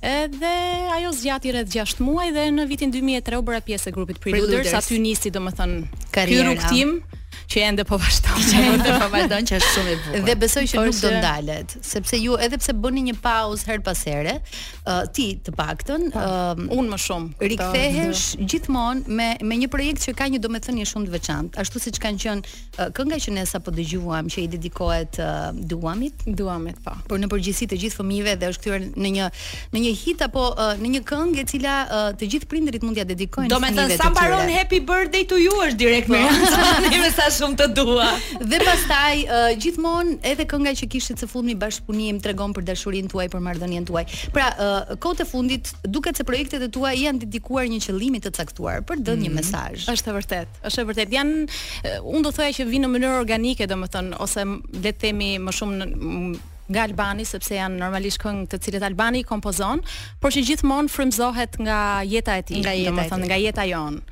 S6: Edhe ajo zgjati rreth 6 muaj dhe në vitin 2003 u bëra pjesë e grupit Preluders,
S5: Preluders.
S6: aty nisi domethënë ky
S4: Karriera.
S6: rrugtim që ende po vazhdon.
S5: Që po vazhdon që është shumë e bukur.
S4: Dhe besoj që
S6: Por
S4: nuk do
S6: që-
S4: ndalet, sepse ju edhe pse bëni një pauzë her pas here, uh, ti të paktën, ëm,
S6: Unë më shumë. kupton?
S4: rikthehesh gjithmonë me me një projekt që ka një domethënie shumë të veçantë, ashtu siç kanë qenë uh, kënga që ne sapo dëgjuam që i dedikohet uh, Duamit,
S6: Duamet pa.
S4: por në përgjithësi të gjithë fëmijëve dhe është kthyer në një në një hit apo uh, në një këngë e cila uh, të gjithë prindërit mund t'ia dedikojnë
S5: Do me thënë,
S4: fëmijëve
S5: sa
S4: të
S5: mbaron
S4: tyre.
S5: happy birthday to you është direkt Miriam Sani me sa shumë të dua.
S4: Dhe pastaj uh, gjithmonë edhe kënga që kishit së fundmi bashkëpunim tregon për dashurinë tuaj, për marrëdhënien tuaj. Pra, uh, kohët e fundit duket se projektet e tua janë dedikuar një qëllimi të caktuar, për dhënë një mesazh.
S6: Është e vërtet, është e vërtet. Jan e, unë do thoya që vinë në mënyrë organike, domethënë, ose m- le të themi më shumë në, m- nga Albani sepse janë normalisht këngë të cilët Albani i kompozon, por që gjithmonë frymëzohet nga jeta e tij,
S5: Nga jeta e tij.
S6: domethënë nga jeta jon.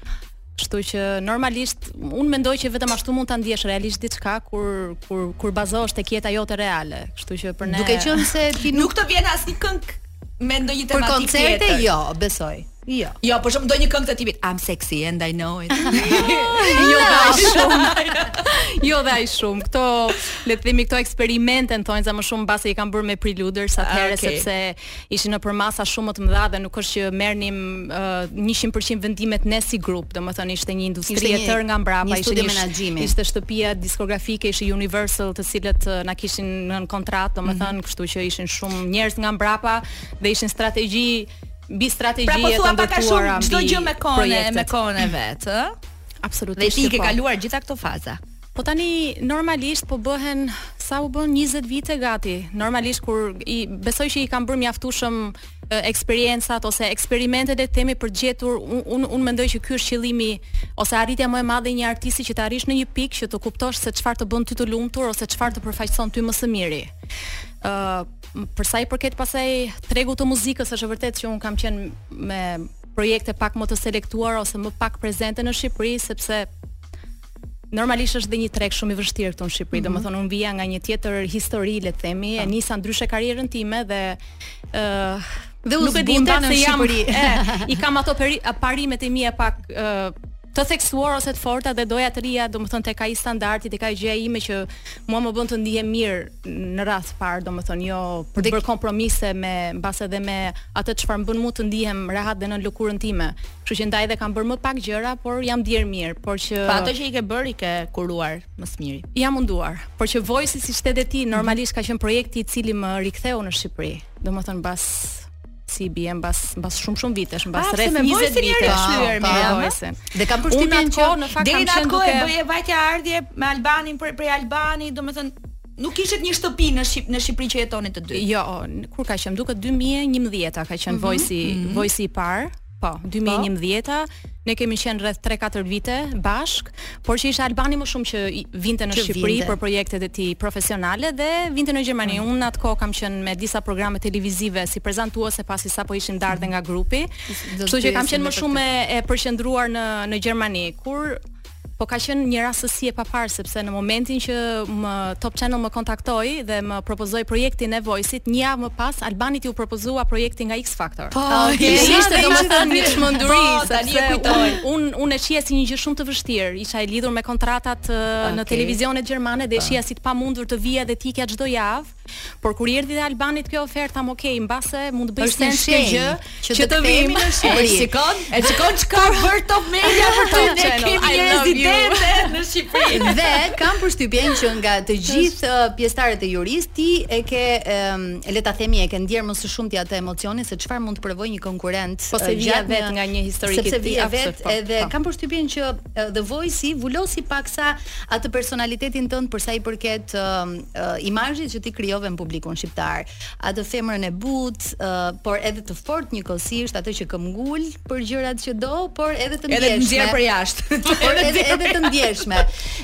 S6: Kështu që normalisht unë mendoj që vetëm ashtu mund ta ndjesh realisht diçka kur kur kur bazohesh tek jeta jote reale. Kështu që për ne
S4: Duke qenë se ti nuk,
S5: Nuk të vjen asnjë këngë me ndonjë
S4: për
S5: tematik
S4: koncerte
S5: tjetër.
S4: jo, besoj. Jo.
S5: Jo, për shumë ndonjë këngë të tipit I'm sexy and I know it.
S6: Jo dhe ai shumë. jo dhe ai shumë. Këto le të themi këto eksperimente thonë za më shumë mbase i kanë bërë me preluders atëherë
S5: Ah, okay.
S6: sepse ishin nëpër masa shumë më të mëdha dhe nuk është që merrnim uh, 100% vendimet ne si grup, domethënë ishte një
S4: Ishte
S6: industri e
S4: një-
S6: tërë nga
S4: një
S6: mbrapa, ishte
S4: studio
S6: një sh-
S4: menaxhimi.
S6: Ishte shtëpia diskografike, ishte Universal, të cilët uh, na kishin në kontratë, domethënë,
S5: Mhm.
S6: kështu që ishin shumë njerëz nga mbrapa dhe ishin strategji mbi strategji
S5: pra po
S6: e të
S5: thua pak a shumë
S6: ndërtuara
S5: çdo
S6: mbi
S5: gjë me kone, me
S6: projektet.
S5: kone vet, ë?
S6: Absolutisht.
S5: Dhe ti i
S6: që
S5: ke
S6: po.
S5: kaluar gjitha këto faza.
S6: Po tani normalisht po bëhen sa u bën 20 vite gati. Normalisht kur i besoj që i kam bërë mjaftueshëm e, eksperiencat ose eksperimentet e themi për të gjetur unë un, un mendoj që ky është qëllimi ose arritja më e madhe e një artisti që të arrish në një pikë që të kuptosh se çfarë të bën ty të lumtur ose çfarë të përfaqëson ty më së miri. Ë për sa i përket pasaj tregut të muzikës është e vërtet që un kam qenë me projekte pak më të selektuara ose më pak prezente në Shqipëri sepse Normalisht është dhe një treg shumë i vështirë këtu në Shqipëri.
S4: Mhm.
S6: Domethënë unë vija nga një tjetër histori, le të themi,
S4: Ah.
S6: e nisa ndryshe karrierën time dhe ë
S4: Dhe u zbuta në Shqipëri.
S6: e, i kam ato peri, a, parimet e mia pak ë të theksuar ose të forta dhe doja të rija, domethënë tek ai standardi, tek ai gjëja ime që mua më bën të ndihem mirë në radh parë, domethënë jo për të
S4: Dhe-
S6: bërë kompromise me mbas edhe me atë çfarë më bën mua të ndihem rehat dhe në lëkurën time. Kështu që ndaj dhe kam bërë më pak gjëra, por jam dier mirë, por që
S5: Pa ato që i ke bërë i ke kuruar më së miri.
S6: jam munduar, por që Voice si shteti ti normalisht ka qenë projekti i cili më riktheu në Shqipëri. Domethënë mbas si bie mbas mbas shumë shumë vitesh, mbas
S5: Pa, pse
S6: rreth
S5: me
S6: 20
S5: Voice-in jeri
S6: vitesh.
S5: kthyer, Miriam, a?
S4: Dhe kam përshtypjen që
S6: kohë, në fakt
S5: Deri
S6: kam
S5: në atë
S6: qenë
S5: kohë e
S6: duke
S5: bëje vajtja ardhje me Albanin për prej Albani, domethënë nuk kishit një shtëpi në Shqip në Shqipëri që jetonin të dy.
S6: Jo, n- kur ka qenë? Duket 2011-a ka
S4: Mhm.
S6: qenë Voice-i Voice-i i parë. Po, 2011-a ne kemi qenë rreth 3-4 vite bashk, por që ishte Albani më shumë që i- vinte në
S4: Që
S6: Shqipëri
S4: vinte. Mm.
S6: për projektet e tij profesionale dhe vinte në Gjermani. Unë atë kohë kam qenë me disa programe televizive si prezantuese pasi sapo ishim ndarë dhe nga grupi.
S4: Do
S6: Kështu që kam
S4: pyesim
S6: qenë
S4: dhe
S6: më
S4: për
S6: shumë e, e përqendruar në në Gjermani, kur po ka qenë një rastësi e paparë sepse në momentin që më Top Channel më kontaktoi dhe më propozoi projektin e Voice-it, një javë më pas Albanit ju propozua projekti nga X Factor. Po,
S5: okay.
S6: ishte domethënë një çmenduri,
S5: Po, tani e kujtoj.
S6: unë un, un e shija si një gjë shumë të vështirë. Isha e lidhur me kontratat okay. në
S5: Okej. Po.
S6: televizionet gjermane dhe e shija si të pamundur të vija dhe të ikja çdo javë. Por kur i erdhi dhe Albanit kjo ofertë, tham, "Ok, mbase mund të bëj
S4: Është një
S6: sens kjo
S4: shenjë
S6: gjë
S4: që do të kthehemi në Shqipëri.
S5: E shikon? E shikon çka bër Top Media për ty
S6: Top
S5: ne
S6: Channel,
S5: kemi
S6: I love you.
S5: rezidente në Shqipëri.
S4: Dhe kam përshtypjen që nga të gjithë uh, pjesëtarët e jurist ti e ke um, le ta themi e ke ndier më së shumti atë emocionin se çfarë mund të provojë një konkurrent.
S6: Po se
S4: uh,
S6: vija
S4: gjatë
S6: vet nga një histori
S4: sepse
S6: këtë
S4: vija
S6: tip,
S4: vet
S6: absolut, po,
S4: edhe
S6: po.
S4: kam përshtypjen që uh, The Voice-i vulosi paksa atë personalitetin tënd për sa i përket um, uh, imazhit që ti krijove në publikun shqiptar. Atë femrën e butë, uh, por edhe të fortë njëkohësisht, atë që këmbgul për gjërat që do, por edhe të
S5: Edhe të
S4: ndjeshme.
S5: nxjerr për jashtë.
S4: Por edhe, edhe edhe të ndjeshme,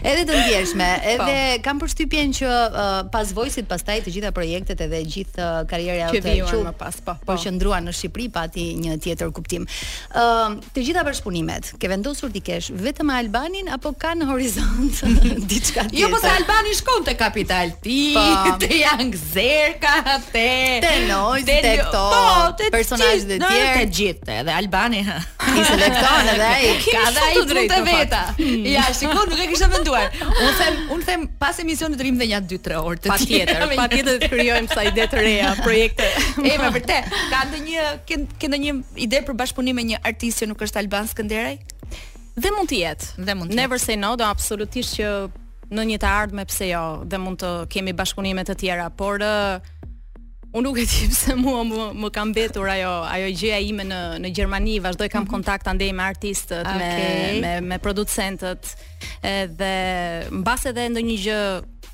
S4: edhe të ndjeshme.
S6: Po.
S4: Edhe kam përshtypjen që uh, pas Voice-it pastaj të gjitha projektet edhe gjithë uh, karriera
S6: Që
S4: jote
S6: vijuan
S4: që
S6: më pas, po, po.
S4: po qëndruan në Shqipëri pati një tjetër kuptim. Ëm të gjitha bashkëpunimet, ke vendosur ti kesh vetëm me Albanin apo ka në horizont diçka tjetër?
S5: Jo, po se Albani shkon te Kapital Ti,
S4: Po.
S5: te Young Zerka, te po,
S4: Te Noise, te këto
S6: Po,
S4: personazhet e
S5: gjithë,
S4: tjerë.
S5: Te gjithë, edhe Albani. ha.
S4: I selekton edhe ai. po,
S5: Ka
S6: shumë
S5: dhe
S6: të
S5: ai punë
S6: drejtë,
S5: të
S6: në fakt.
S5: veta. Ja, shikon, nuk e kisha menduar. Unë them, unë them pas emisionit rrim dhe një 2-3 orë të
S6: Patjetër,
S5: me një-
S6: patjetër të krijojmë sa ide të reja, projekte.
S5: E me vërtet, ka ndonjë ke ke ndonjë ide për bashkëpunim me një artist që nuk është Alban Skënderaj?
S6: Dhe mund të jetë.
S5: Dhe mund të
S6: Never say no, do absolutisht që në një të ardhme pse jo, dhe mund të kemi bashkëpunime të tjera, por ë, unë nuk e di pse mua më, më ka mbetur ajo ajo gjëja ime në në Gjermani, vazhdoj kam kontakt andej me artistët,
S5: Okej.
S6: me me me producentët, edhe mbas edhe ndonjë gjë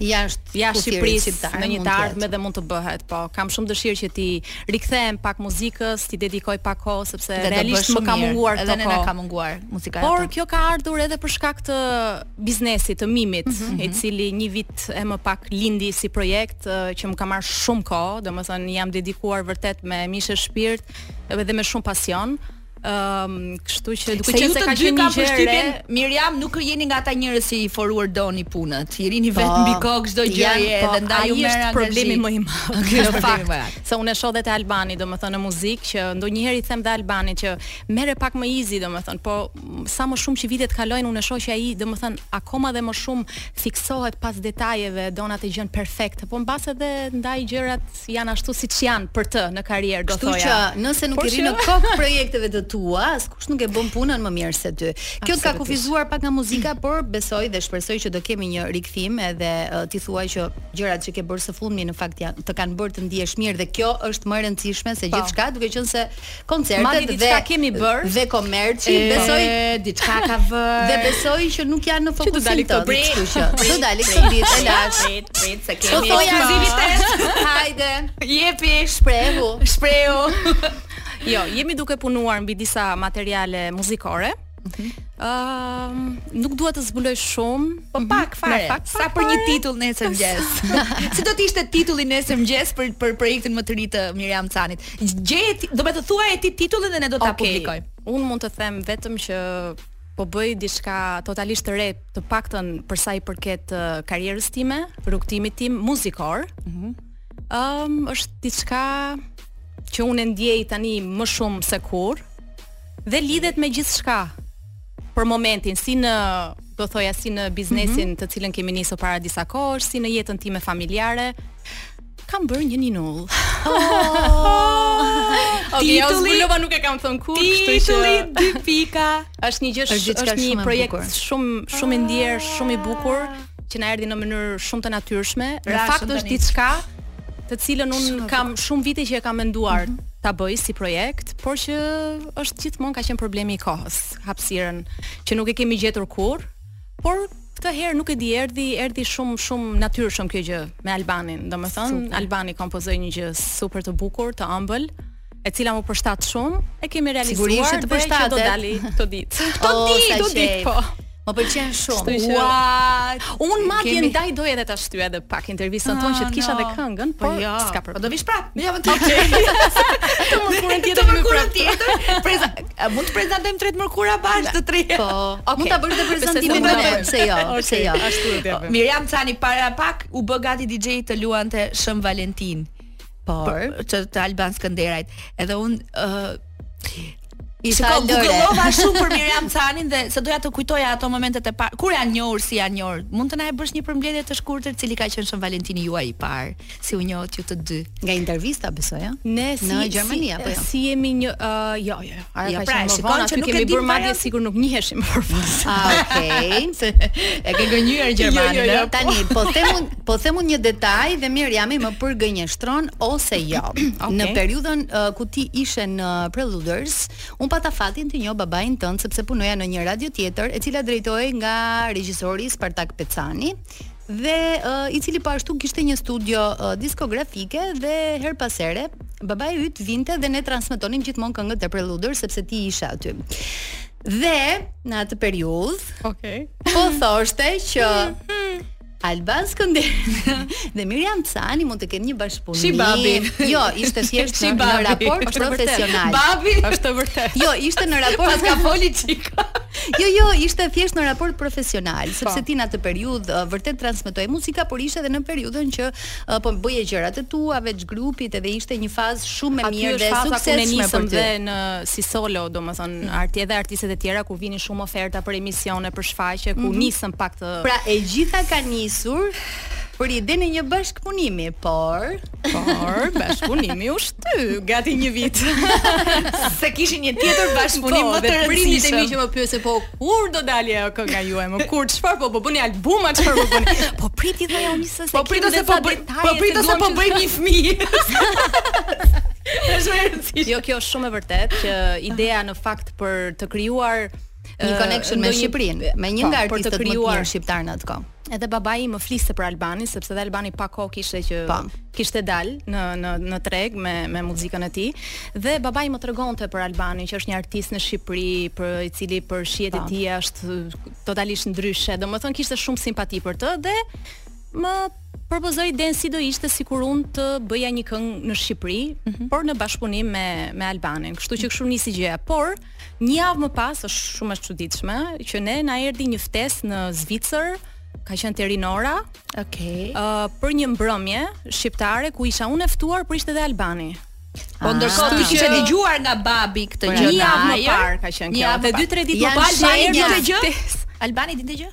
S4: jashtë
S6: jashtë
S4: kufirit
S6: Shqipërisë
S4: shqiptar,
S6: në një
S4: mund
S6: të
S4: jetë.
S6: ardhme dhe mund të bëhet, po kam shumë dëshirë që ti rikthehem pak muzikës, ti dedikoj pak kohë sepse
S5: Dhe do bësh
S6: realisht më
S5: shumë
S6: ka
S5: mirë,
S6: munguar
S5: Edhe
S6: këtë
S5: ne na
S6: kohë.
S5: ka munguar muzikata.
S6: Por kjo ka ardhur edhe për shkak të biznesit, të mimit,
S5: Mhm,
S6: i cili një vit e më pak lindi si projekt ë, që më ka marrë shumë kohë, domethënë jam dedikuar vërtet me mishë shpirt edhe me shumë pasion. Ëm, kështu që duke
S5: Se
S6: qenë
S5: ju
S6: se
S5: të
S6: ka
S5: dy
S6: qenë një
S5: ka
S6: gjë e re,
S5: përshtypjen, Miriam nuk jeni nga ata njerëz që i foruar doni punët. I rini
S4: Po,
S5: vetëm mbi kokë çdo gjë
S4: janë, po,
S5: edhe ndaj
S6: ai
S5: ju merr
S6: është
S5: angazhim.
S6: problemi më i madh.
S5: Ky është
S6: Në
S5: problemi
S6: fakt,
S5: më i madh.
S6: se unë e shoh dhe te Albani, domethënë në muzikë që ndonjëherë i them dhe Albanit që merre pak më easy domethënë, po m, sa më shumë që vitet kalojnë unë e shoh që ai domethënë akoma dhe më shumë fiksohet pas detajeve, don atë gjën perfekte, po mbas edhe ndaj gjërat janë ashtu siç janë për të në karrierë do
S4: Kështu
S6: thoja.
S4: që nëse nuk
S6: Por
S4: i ri në
S6: që-
S4: kokë projekteve të tua, askush nuk e bën punën më mirë se ty. Kjo të ka
S6: Absolutisht.
S4: kufizuar pak nga muzika, por besoj dhe shpresoj që do kemi një rikthim edhe uh, ti thuaj që gjërat që ke bërë së fundmi në fakt janë të kanë bërë të ndihesh mirë dhe kjo është më e rëndësishme se gjithçka, duke qenë se
S6: Madje
S4: koncertet dhe
S6: Po. diçka kemi bërë.
S4: dhe komerci, besoj
S5: diçka ka vër.
S4: dhe besoj që nuk janë në
S6: do dali
S4: fokusin
S6: këto
S4: tënd, kështu që do dali këtë ditë e lash.
S5: Prit, prit, se
S4: Po
S5: kemi
S4: thoja
S5: ekskluzivitet.
S4: Hajde,
S5: Jepi,
S4: shprehu.
S5: shprehu.
S6: Jo, jemi duke punuar mbi disa materiale muzikore.
S5: Mhm.
S6: Ëm, nuk dua të zbuloj shumë, po
S5: Pak fare,
S6: Pak,
S5: sa
S6: pak
S5: për një
S6: fare.
S5: titull nesër mëngjes. si do të ishte titulli nesër mëngjes për për projektin më të ri të Miriam Canit? Gjej, ti- do me të thuaj e ti titullin dhe ne do ta publikojmë.
S6: Un mund të them vetëm që po bëj diçka totalisht të re, të paktën për sa i përket uh, karrierës time, rrugtimit tim muzikor. Ëm
S5: Mhm.
S6: është diçka që unë e ndjej tani më shumë se kur dhe lidhet me gjithçka për momentin, si në do thoja si në biznesin të cilën kemi nisur para disa kohësh, si në jetën time familjare. Kam bërë një ninull. Okej, okay,
S5: Titulli-
S6: zbulova nuk e kam thënë kur, kështu që
S5: Titulli 2 pika.
S6: është një gjë
S4: Është
S6: sh-
S4: diçka
S6: është
S4: shumë
S6: një
S4: e
S6: projekt
S4: bukur.
S6: shumë shumë i ndjer, shumë i bukur që na erdhi në mënyrë shumë të natyrshme. Në
S5: Rashën
S6: fakt
S5: tani.
S6: është diçka të cilën un kam shumë vite që e kam menduar ta bëj si projekt, por që është gjithmonë ka qenë problemi i kohës, hapësirën që nuk e kemi gjetur kurrë, por këtë herë nuk e di erdhi erdhi shumë shumë natyrshëm kjo gjë me Albanin. Domethënë Albani kompozoi një gjë super të bukur, të ëmbël, e cila më përshtat shumë, e kemi realizuar
S4: Sigurisht që të
S6: dhe që do
S4: përshtatet.
S6: dali këto ditë.
S4: O,
S6: Këto ditë,
S4: sa
S6: do ditë
S4: qejf.
S6: po.
S4: Më pëlqen shumë.
S6: Kështu që-
S5: Ua,
S6: Unë madje
S5: Kemi-
S6: ndaj doja edhe ta shtyja edhe pak intervistën tonë që të kisha edhe këngën,
S5: po
S6: por
S5: jo.
S6: s'ka
S5: Po
S6: problem.
S5: do vish prapë. Ja, më okay.
S6: Të mërkurën
S5: Të mërkurën tjetër. Preza, a mund të prezentojmë tret mërkura bashkë të tre.
S4: Po, mund ta bësh dhe prezantimin
S5: Besoj
S4: me
S5: se mund ta
S4: pse jo, pse jo.
S6: Ashtu e bëjmë.
S5: Miriam Cani para pak u bë gati DJ të luante Shëm Valentin
S4: Por
S5: që të Alban Skënderajt. Edhe unë uh,
S4: Isha
S5: Shiko,
S4: lore.
S5: googlova shumë për Miriam Canin dhe se doja të kujtoja ato momentet e parë. Kur janë njohur si janë njohur? Mund të na e bësh një përmbledhje të shkurtër cili ka qenë Shën Valentini juaj i parë, si u njohët ju të dy.
S4: nga intervista besoj, ëh.
S6: Ne si
S4: Në Gjermani,
S6: si,
S4: apo jo?
S6: Si jemi një ë, jo, jo, jo. Ara
S5: Jo,
S6: ka
S5: pra,
S6: qenë më
S5: shikon
S6: vonë,
S5: që
S6: aty
S5: nuk e
S6: kemi
S5: dim
S6: bërë madje
S5: fare.
S6: sigur nuk njiheshim përpara.
S4: Ah, okay.
S5: Se e ke gënjur Gjermanin.
S6: Jo, jo, jo.
S5: ë?
S4: Tani, po themun, po themun një detaj dhe Mirjami më përgënjeshtron ose jo. Në periudhën uh, ku ti ishe në Preluders, un pata fatin të njoh babain tënd sepse punoja në një radio tjetër e cila drejtohej nga regjisori Spartak Pecani dhe uh, i cili po ashtu kishte një studio uh, diskografike dhe her pas here babai yt vinte dhe ne transmetonim gjithmonë këngët e Preluders sepse ti ishe aty. Dhe në atë periudhë
S6: Okej.
S4: po thoshte që
S6: Mhm.
S4: Alban Skënderi dhe Miriam Cani mund të kenë një bashkëpunim.
S6: Shi babi.
S4: Jo, ishte thjesht në, në
S6: babi.
S4: raport
S6: Është vërtet.
S4: profesional.
S5: Babi
S6: Është e vërtet.
S4: Jo, ishte në raport
S5: pas ka foli çika.
S4: Jo, jo, ishte thjesht në raport
S6: Po.
S4: profesional, sepse ti në atë periudhë ë, vërtet transmetoi muzika, por ishte edhe në periudhën që ë, po bëje gjërat e tua veç grupit, edhe ishte një fazë shumë e
S6: Aty
S4: mirë
S6: është
S4: dhe
S6: faza ku ne
S4: suksesshme për
S6: nisëm
S4: ty.
S6: dhe në si solo, domethënë arti edhe artistet e tjera kur vinin shumë oferta për emisione, për shfaqje, ku nisëm pak të
S4: Pra e gjitha ka nisur për idenë e një bashkëpunimi, por
S6: por bashkëpunimi u shty gati një vit.
S5: Se kishin një tjetër bashkëpunim
S6: Po,
S5: më të
S6: dhe prindit e mi që
S5: rëndësishëm.
S6: më pyese po kur do dalje ajo kënga juaj? Më kur çfarë po po bëni album, a çfarë po bëni? Po priti dhe ajo nisë se
S5: Po prit ose po bëj, po prit ose po bëj një fëmijë. Është shumë e rëndësishme.
S6: Jo, kjo është shumë e vërtet që ideja në fakt për të krijuar uh,
S4: një connection me Shqipërinë, me
S6: po,
S4: një nga artistët më të mirë
S6: shqiptar.
S4: shqiptar në atë kohë.
S6: Edhe babai më fliste për Albanin sepse dhe Albani pa kohë kishte që
S4: Pa.
S6: kishte dal në në në treg me me muzikën e tij dhe babai më tregonte për Albanin që është një artist në Shqipëri për i cili për shihet e tij është totalisht ndryshe. Domethënë kishte shumë simpati për të dhe më propozoi den si do ishte sikur unë të bëja një këngë në Shqipëri,
S5: Mhm.
S6: por në bashkëpunim me me Albanin. Kështu që kështu nisi gjëja, por një javë më pas është shumë e çuditshme që ne na erdhi një ftesë në Zvicër, ka qenë Terinora,
S4: Okej.
S6: uh, për një mbrëmje shqiptare ku isha unë e ftuar, por ishte edhe Albani.
S5: Po ndërkohë ti
S6: Kështu
S5: kishe Po,
S6: që-
S5: dëgjuar nga babi këtë gjë.
S6: një javë më
S5: na, ja?
S6: parë ka qenë
S5: Një
S6: kjo.
S5: javë
S6: Dhe
S5: më
S6: 2-3 ditë më
S4: Janë
S6: pas na
S4: shenja.
S6: erdhi
S5: Dinte
S6: këtë
S5: gjë?
S6: gjë.
S5: Albani dinte gjë?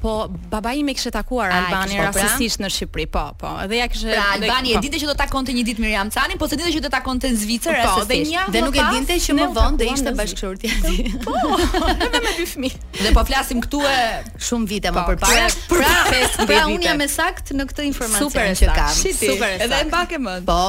S6: Po babai më kishte takuar
S5: Ai,
S6: Albani
S5: po, pra.
S6: rastësisht në Shqipëri, po, po. Dhe ja kishte
S5: Pra
S6: dhe-
S5: Albani e
S6: po.
S5: dinte që do takonte një ditë Miriam Canin, po se dinte që do takonte në Zvicër
S6: Po,
S5: rastësisht.
S6: dhe një javë
S4: Dhe
S6: më
S4: nuk e
S6: pas,
S4: dinte që
S6: ne
S4: më
S6: u
S4: vonë do
S6: takuam
S4: ishte
S6: në
S4: bashkëshortja e tij.
S6: Edhe me dy fëmijë.
S5: Dhe po flasim këtu e
S4: Shumë vite më
S6: Po,
S4: përpara.
S6: kthehen për
S4: Pra,
S6: 15
S4: pra
S6: vite.
S4: unë jam e sakt në këtë informacion
S6: Super e
S4: që
S6: sakt.
S4: kam.
S6: Shiti.
S4: Super e
S5: Edhe e mbake mend.
S4: Po,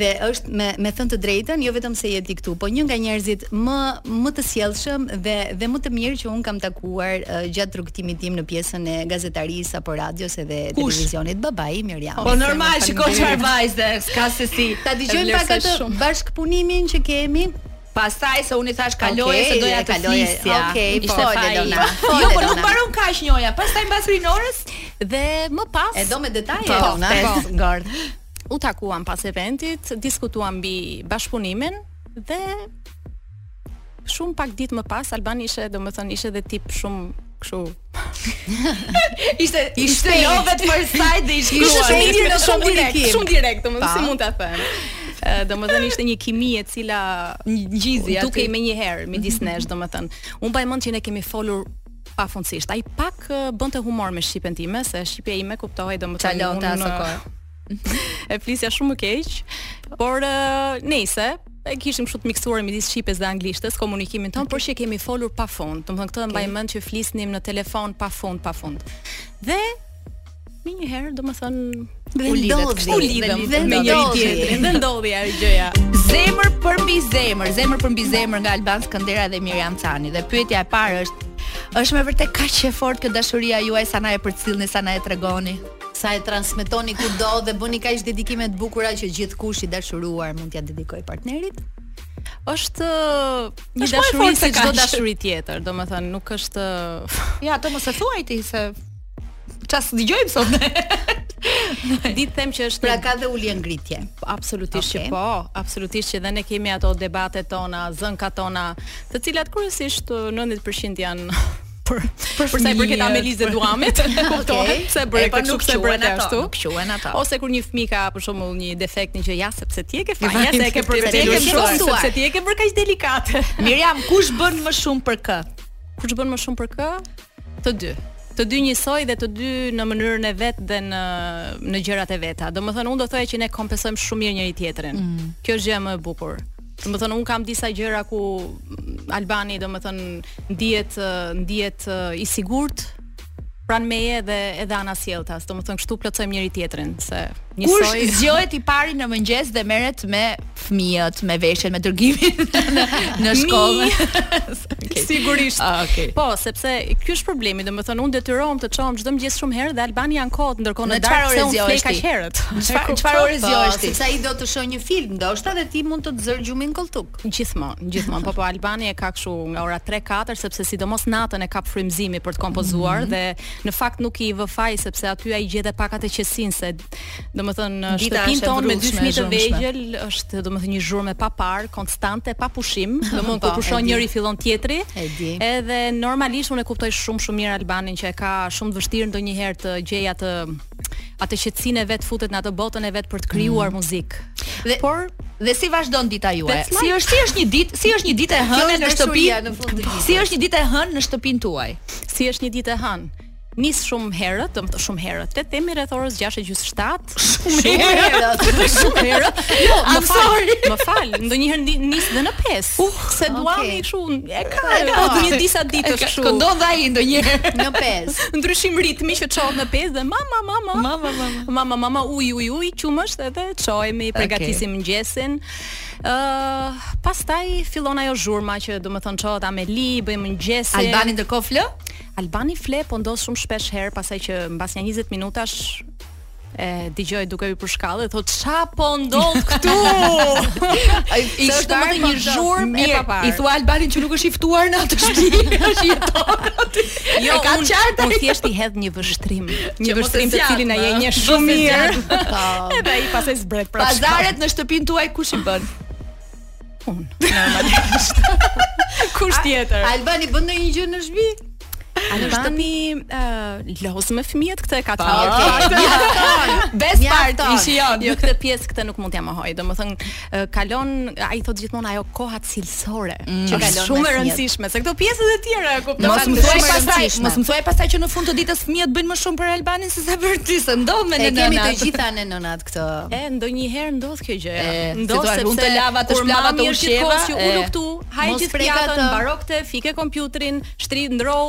S4: dhe është me me thënë të drejtën, jo vetëm se je ti këtu, po një nga njerëzit më më të sjellshëm dhe dhe më të mirë që un kam takuar uh, gjatë rrugtimit tim në pjesën e gazetarisë apo radios edhe televizionit, babai i Mirjam.
S5: Po normal, shikoj çfarë vajzë, s'ka se si.
S4: Ta dëgjojmë pak atë bashkëpunimin që kemi.
S5: Pastaj se unë i thash kaloje
S4: Okej,
S5: se doja
S4: e
S5: të
S4: kaloje.
S5: flisja.
S4: Okej,
S5: Ishte
S4: fole,
S5: faji.
S4: Dona, fole,
S5: Jo, po nuk
S4: Dona.
S5: mbaron kaq njoja. Pastaj mbas rinorës,
S6: Dhe më pas
S4: E do me detaje,
S6: Po,
S4: Elona,
S6: po.
S4: ngord.
S6: u takuam pas eventit, diskutuam mbi bashkëpunimin dhe shumë pak ditë më pas Albani ishte, domethënë ishte edhe tip shumë kështu
S5: ishte ishte
S4: shpejt.
S5: love at first sight dhe ishte
S4: Ishte shumë i direkt,
S6: shumë
S4: shumë
S6: direkt,
S4: ndikim.
S6: shumë direkt, domethënë
S4: Pa.
S6: Po, si mund ta them. Ë, Domethënë ishte një kimi e cila
S5: ngjizi aty.
S6: dukej me një herë midis nesh, domethënë. Unë mbaj mend që ne kemi folur pafundësisht. Ai pak ë, bënte humor me shqipen time, se shqipja ime kuptohej domethënë.
S5: Qalonte
S6: unë,
S5: aso
S6: ë,
S5: kohë.
S6: E flisja shumë më keq, por ë, nejse e kishim kështu të miksuar midis shqipes dhe anglishtes komunikimin ton, por që kemi folur pafund. Domethënë këtë e mbaj mend që flisnim në telefon pafund, pafund. Dhe me një herë, domethënë
S4: Dhe
S5: U lidhet
S4: ndodhi,
S5: kështu. U lidhem
S4: dhe
S6: me njëri
S4: ndodhi.
S6: tjetrin dhe ndodhi ajo gjëja.
S5: Zemër për mbi zemër, zemër për mbi zemër nga Alban Skëndera dhe Miriam Cani. Dhe pyetja e parë është është me vërtet kaq e fortë kjo dashuria juaj sa na e përcillni, sa na e tregoni.
S4: Sa e transmetoni kudo dhe bëni kaq dedikime të bukura që gjithkush i dashuruar mund t'ja dedikoj partnerit.
S6: Është ë,
S5: Është më
S6: një
S5: e
S6: dashuri
S5: fortë se
S6: si çdo
S5: kaq.
S6: dashuri tjetër, domethënë nuk është ë,
S5: Ja, ato mos e thuaj ti se ças dëgjojmë sot. ne.
S6: ditë them që është
S4: Pra
S6: një-
S4: ka dhe ulje ngritje.
S6: Absolutisht
S4: Okej.
S6: që po, absolutisht që dhe ne kemi ato debatet tona, zënkat tona, të cilat kryesisht ë, 90% janë për për sa i përket
S5: fëmijët,
S6: Amelize Duamit, e kuptoj,
S4: Okej.
S6: pse bëre
S5: E, po,
S6: kështu,
S5: nuk
S6: pse bëre
S5: quhen ato,
S6: ashtu.
S5: nuk quhen ato.
S6: Ose kur një fëmijë ka për shembull një defekt në që ja sepse ti e ke fajin, se e ke
S5: sepse
S6: për
S5: ti e ke
S6: shumë,
S4: mësuar.
S6: sepse ti e ke bërë kaq delikate.
S5: Miriam, kush bën më shumë për kë?
S6: Kur ç'bën më shumë për kë? Të dy. Të dy njësoj dhe të dy në mënyrën e vet dhe në në gjërat e veta. Domethënë unë do thoya që ne kompensojmë shumë mirë njëri tjetrin.
S5: Mm.
S6: Kjo është gjëja më e bukur. Domethënë unë kam disa gjëra ku mm, Albani domethënë ndihet ë, ndihet ë, i sigurt pranë meje dhe edhe ana sjelltas. Domethënë kështu plotësojmë njëri tjetrin se
S5: Kush
S6: njësoj
S5: zgjohet i pari në mëngjes dhe merret me fëmijët, me veshjen, me dërgimin në, në shkollë? okay.
S6: Sigurisht.
S5: Ah, okay.
S6: Po, sepse ky është problemi, domethënë unë detyrohem të çohem çdo mëngjes shumë herë dhe Albani janë kot, ndërkohë në
S5: Në çfarë
S6: darkë se
S5: ore
S6: unë
S5: zjohesh
S6: flej
S5: ti?
S6: kaq herët.
S5: Çfarë- po,
S6: E
S5: çfarë
S6: kupton?
S5: ore zjohesh ti?
S4: Po, sepse ai do të shohë një film, ndoshta dhe ti mund të të zër gjumin kolltuk.
S6: Gjithmonë, gjithmonë, po po Albani e ka kështu nga ora 3-4 sepse sidomos natën e ka frymëzimi për të kompozuar
S5: Mhm.
S6: dhe në fakt nuk i vë faj sepse aty ai gjet e pak atë qesin se domethënë
S5: Dita
S6: shtëpinë
S5: është e
S6: tonë me dy
S5: vrullshme,
S6: fëmijë të
S5: e zhurmshme.
S6: vegjël është domethënë një zhurmë pa parë, konstante, pa pushim, domethënë kur
S4: Po, e
S6: pushon
S4: di.
S6: njëri fillon tjetri.
S4: E di.
S6: Edhe normalisht unë e kuptoj shumë shumë mirë Albanin që e ka shumë të vështirë ndonjëherë të gjej atë atë qetësinë e vet futet në atë botën e vet për të krijuar muzikë.
S5: Mm. Dhe por dhe si vazhdon dita juaj?
S6: That's
S5: Si është si është një ditë, si është një ditë e hënë
S4: është
S5: Po, në
S4: dashuria në fund të
S5: shtëpi? Po,
S4: ditës.
S5: Si është një ditë e hënë në shtëpinë tuaj?
S6: si është një ditë e hënë. Nis shumë herët, do të thotë shumë herët. Le të themi rreth orës 6:30. Shumë herët. Shumë herët. Jo, më
S5: I'm
S6: fal.
S5: sorry.
S6: Më fal. Ndonjëherë ndi- nis dhe në 5. se duam
S4: okay.
S6: i kështu Uh, e ka.
S5: E ka.
S6: Po një disa ditë është kështu.
S5: Këndon dhe ai ndonjëherë.
S4: Në pesë.
S6: Ndryshim ritmi që çohet në 5 dhe mama mama.
S5: Mama, mama.
S6: Mama mama uj uj uj qumësht edhe çohemi, përgatisim mëngjesin. Ë, pastaj fillon ajo zhurma që domethënë çohet Ameli, bëjmë mëngjesin.
S5: Albani ndërkohë flë?
S6: Albani fle po ndos shumë shpesh herë pasaj që mbas një 20 minutash e dëgjoj duke u për shkallë dhe thot ça po ndodh këtu.
S5: Ai i
S6: Se është
S5: shtar
S6: domethënë një
S5: pa-
S6: zhurmë e
S5: Mirë,
S6: paparë.
S5: I thua Albanin që nuk është i ftuar në atë shtëpi, është jeton aty.
S6: jo,
S5: E ka
S6: unë-
S5: qartë?
S6: Unë thjesht i hedh një vështrim, një
S5: Që mos
S6: vështrim
S5: e
S6: të
S5: zjat,
S6: cilin ai e
S5: ma.
S6: njeh
S5: Mos
S6: shumë
S5: e Po.
S6: mirë.
S5: zjat.
S6: Edhe ai pastaj zbret pra, prapë.
S5: Pazaret në shtëpinë tuaj kush i bën?
S6: kush tjetër?
S4: Albani bën ndonjë gjë në shtëpi?
S6: Albani ë loz me fëmijët këtë e ka thënë.
S5: Best part
S4: Mjafton.
S5: i shijon.
S6: Jo, këtë pjesë këtë nuk mund t'ja mohoj. Domethënë ë, kalon ai thot gjithmonë ajo koha cilësore që
S4: Është
S6: kalon
S4: shumë
S6: Mm. shumë
S4: e
S6: e rëndësishme, se këto pjesët e tjera e kupton.
S5: Mos
S4: Mos
S5: më
S4: më
S5: thuaj
S4: shumë e
S5: pastaj,
S4: rëndësishme.
S5: mos më thuaj pastaj që në fund të ditës fëmijët bëjnë më shumë për Albanin se sa për ty, se ndodh me
S4: E
S5: nënat.
S4: kemi të gjitha në nënat këtë.
S6: E ndonjëherë ndodh kjo gjë.
S5: E,
S6: Ndodh
S5: si thua, unë të lava, të
S6: kur
S5: shplava, të
S6: mami është
S5: ushqeva,
S6: gjithkohë që
S5: e.
S6: ulo këtu, haj
S4: Mos
S6: gjithë
S4: preka
S6: pjatën,
S4: të.
S6: mbaro këtë, fike kompjuterin, shtri ndrou,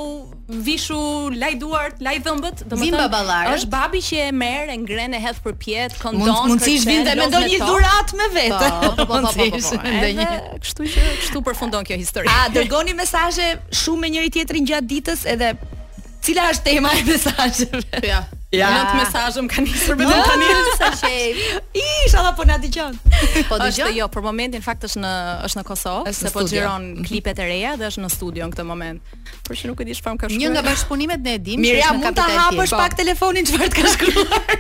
S6: vishu, laj duart, laj dhëmbët,
S4: Vin
S6: domethënë
S4: baballarët.
S6: është babi që e merr, e ngren e hedh përpjet, këndon,
S5: Mund mundësisht
S6: kërcen,
S5: vinë dhe
S6: loz
S5: mendon
S6: me
S5: një
S6: to.
S5: dhurat me vete.
S4: Po, po, po, po, po, po, po.
S5: Mundësisht,
S6: Edhe
S5: ndonjë.
S6: kështu që kështu përfundon kjo histori.
S5: A dërgoni mesazhe shumë me njëri tjetrin gjatë ditës edhe cila është tema e mesazheve?
S6: Ja.
S5: Ja.
S6: Nëntë mesazhe më kanë nisur vetëm
S5: Ah,
S6: tani.
S4: Sa shej.
S5: I, Inshallah po na dëgjon.
S4: Po
S6: Është
S4: dëgjoj.
S6: jo, për momentin fakt është në është në Kosovë,
S5: Është në
S6: se po
S5: studio.
S6: xhiron klipet e reja dhe është në studio në këtë moment. Por që nuk e di çfarë më ka shkruar.
S4: Një nga bashkëpunimet ne e dim, që
S5: Mirja
S4: është në
S5: mund ta
S4: Kapital
S5: hapësh
S4: Tjetër.
S5: pak telefonin çfarë të ka shkruar.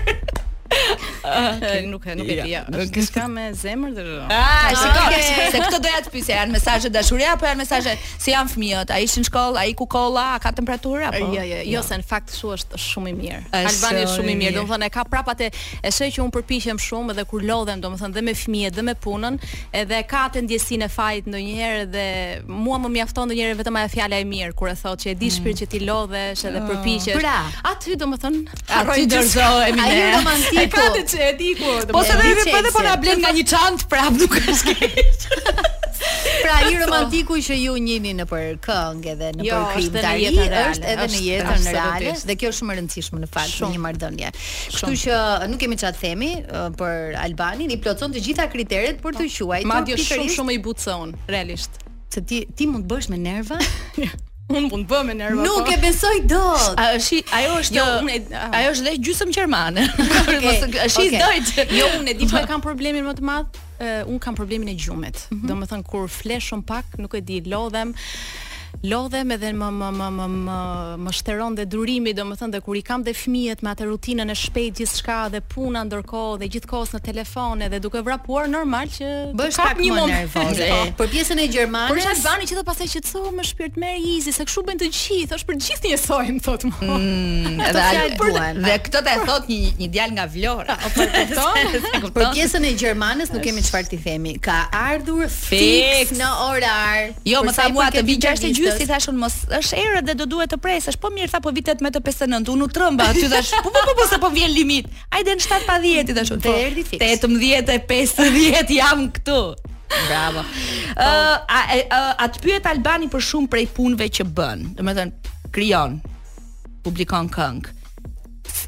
S6: E, nuk e nuk e di.
S5: Ja,
S6: Ja,
S5: nuk
S6: është
S5: e
S6: diçka me zemër dhe zhë.
S5: Ah, shikoj,
S4: okay.
S5: se këto doja të pyesja, janë mesazhe dashurie apo janë mesazhe si janë fëmijët? A ishin në shkollë, a i ku kolla, a ka po? temperaturë apo?
S6: Jo, jo, jo, se në fakt kështu është është shumë i mirë.
S5: Është
S6: Albani është shumë i
S5: shumë i
S6: mirë.
S5: mirë.
S6: Domethënë e ka prapë atë e shoj që un përpiqem shumë edhe kur lodhem, domethënë dhe me fëmijët dhe me punën, edhe ka atë ndjesinë e fajit ndonjëherë dhe mua më mjafton ndonjëherë vetëm ajo fjala e mirë kur e thotë që e di shpirt që ti lodhesh edhe përpiqesh.
S4: Pra.
S6: aty domethënë
S5: Ah, Aty dorëzohemi
S4: Ai
S5: ne.
S6: E ka
S4: romantiku.
S6: të që e di ku.
S5: Po se
S4: E
S5: dhe
S4: di
S5: edhe po edhe po na
S4: Chelsea.
S5: blen nga një çantë prap nuk është keq.
S4: Pra ai romantiku që ju njihni në për këngë edhe në
S6: Jo,
S4: për
S6: është edhe në
S4: krimtari
S6: jetën reale,
S4: është edhe në
S6: është
S4: jetën reale
S6: absolutisht.
S4: dhe kjo është shumë e rëndësishme në fakt në
S6: Shumë.
S4: një marrëdhënie. Kështu
S6: Shumë.
S4: që uh, nuk kemi çfarë të themi ë, për Albanin, i plotson të gjitha kriteret për të quajtur
S6: Madje shumë shumë i butë se unë, realisht.
S4: se ti ti mund të bësh me nerva?
S6: Unë mund bë me nerva.
S4: Nuk
S6: po.
S4: e besoj dot.
S5: A është i- ajo është
S6: Jo, unë e- a.
S5: ajo është dhe gjysmë gjermane. Mos është i
S4: okay.
S5: Deutsch.
S6: Jo, unë e di pse kam problemin më të madh. Uh, unë kam problemin e gjumit. Mm
S4: Mhm.
S6: -hmm. Domethënë kur flesh shumë pak, nuk e di, lodhem lodhem edhe më më më më më, më shteron dhe durimi, domethënë dhe kur i kam dhe fëmijët me atë rutinën e shpejtë gjithçka dhe puna ndërkohë dhe gjithkohës në telefon edhe duke vrapuar normal që
S4: Bësh
S6: kap
S4: pak më
S6: moment.
S4: nervoze.
S6: Po.
S4: Për pjesën e
S6: Por është
S4: gjermanes,
S6: Albani që do pastaj qetësohu me shpirt merr easy, se kështu bën të gjithë, është për gjithë njësoj, më thotë mua.
S4: Mm,
S5: Dhe,
S4: fjalë
S5: për-
S4: duan.
S5: dhe këtë të e thot një një djalë nga Vlora.
S6: Po e kupton?
S4: për pjesën e gjermanes nuk kemi çfarë t'i themi. Ka ardhur
S5: Fix.
S4: fix në orar.
S5: Jo, më
S4: Për sa
S5: tha
S4: i
S5: mua të
S4: përket
S5: vi 6 e
S4: intervistës.
S5: gjysmë, i thashun mos është erë dhe do duhet të presësh. Po mirë, tha po vi 18 e 59, unë u trëmba aty thash. Po po po, po se po vjen limit. Hajde në 7 pa 10 i thashun.
S4: Të
S6: Po,
S4: erdhi fix.
S5: 18 e 50 jam këtu. Bravo. Ë a, e- ë, a të pyet Albani për shumë prej punëve që bën. Domethënë krijon, publikon këngë.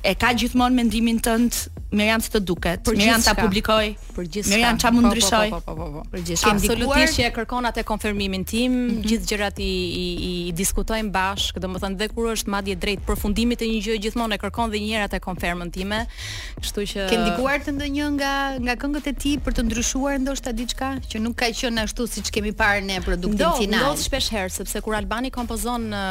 S5: E ka gjithmonë mendimin tënd Miriam si të duket,
S6: Për
S5: Miriam ta
S6: gjithçka.
S5: publikoj.
S6: Për gjithçka.
S5: Miriam çfarë mund
S6: Po, po,
S5: ndryshoj?
S6: Po, po, po, po.
S5: Për gjithçka.
S6: Absolutisht
S5: Ndikuar-
S6: që e kërkon atë konfirmimin tim, gjithë gjërat i, i, i diskutojmë bashkë, domethënë dhe kur është madje drejt përfundimit të një gjë, gjithmonë e kërkon dhe një herë atë konfirmën time. Kështu që
S4: Ke ndikuar të ndonjë nga nga këngët e ti për të ndryshuar ndoshta diçka që nuk ka qenë ashtu siç kemi parë ne produktin
S6: Ndodh,
S4: final?
S6: ndodh shpesh herë sepse kur Albani kompozon uh,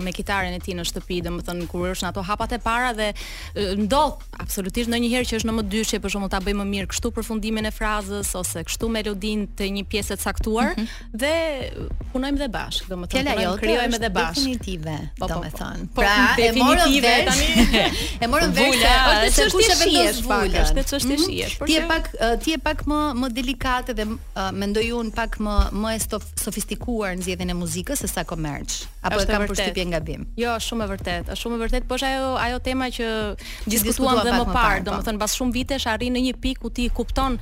S6: uh, me kitaren e tij në shtëpi, domethënë kur është në ato hapat e para dhe uh, ndodh absolutisht ndonjëherë që është në më dyshje, për shembull ta bëj më mirë kështu përfundimin e frazës ose kështu melodinë të një pjese caktuar dhe uh, punojmë dhe bashkë, domethënë
S4: Mhm. Fjala
S6: punojmë,
S4: jote
S6: krijojmë
S4: është
S6: edhe bashkë.
S4: Definitive,
S6: Po, po, po.
S4: domethënë. Pra,
S6: Po, definitive, tani.
S4: e morëm vesh.
S6: Vula,
S4: se-
S6: është
S4: se kush e
S6: çështje
S4: vendos
S6: shihesh pak,
S4: vulën.
S6: është çështje
S4: Mhm.
S6: shihesh, por
S4: Ti je
S6: që-
S4: pak ë, ti je pak më më delikate dhe ë, mendoj unë pak më më e stof- sofistikuar në zgjedhjen e muzikës se sa komerç. Apo e
S6: Është e
S4: kam
S6: vërtet.
S4: përshtypjen gabim?
S6: Jo, shumë e vërtet, është shumë e vërtet, po është ajo ajo tema që
S4: diskutuam
S6: diskutuam dhe
S4: pak
S6: më
S4: më parë,
S6: parë,
S4: po.
S6: domethënë pas shumë vitesh arrin në një pikë ku ti kupton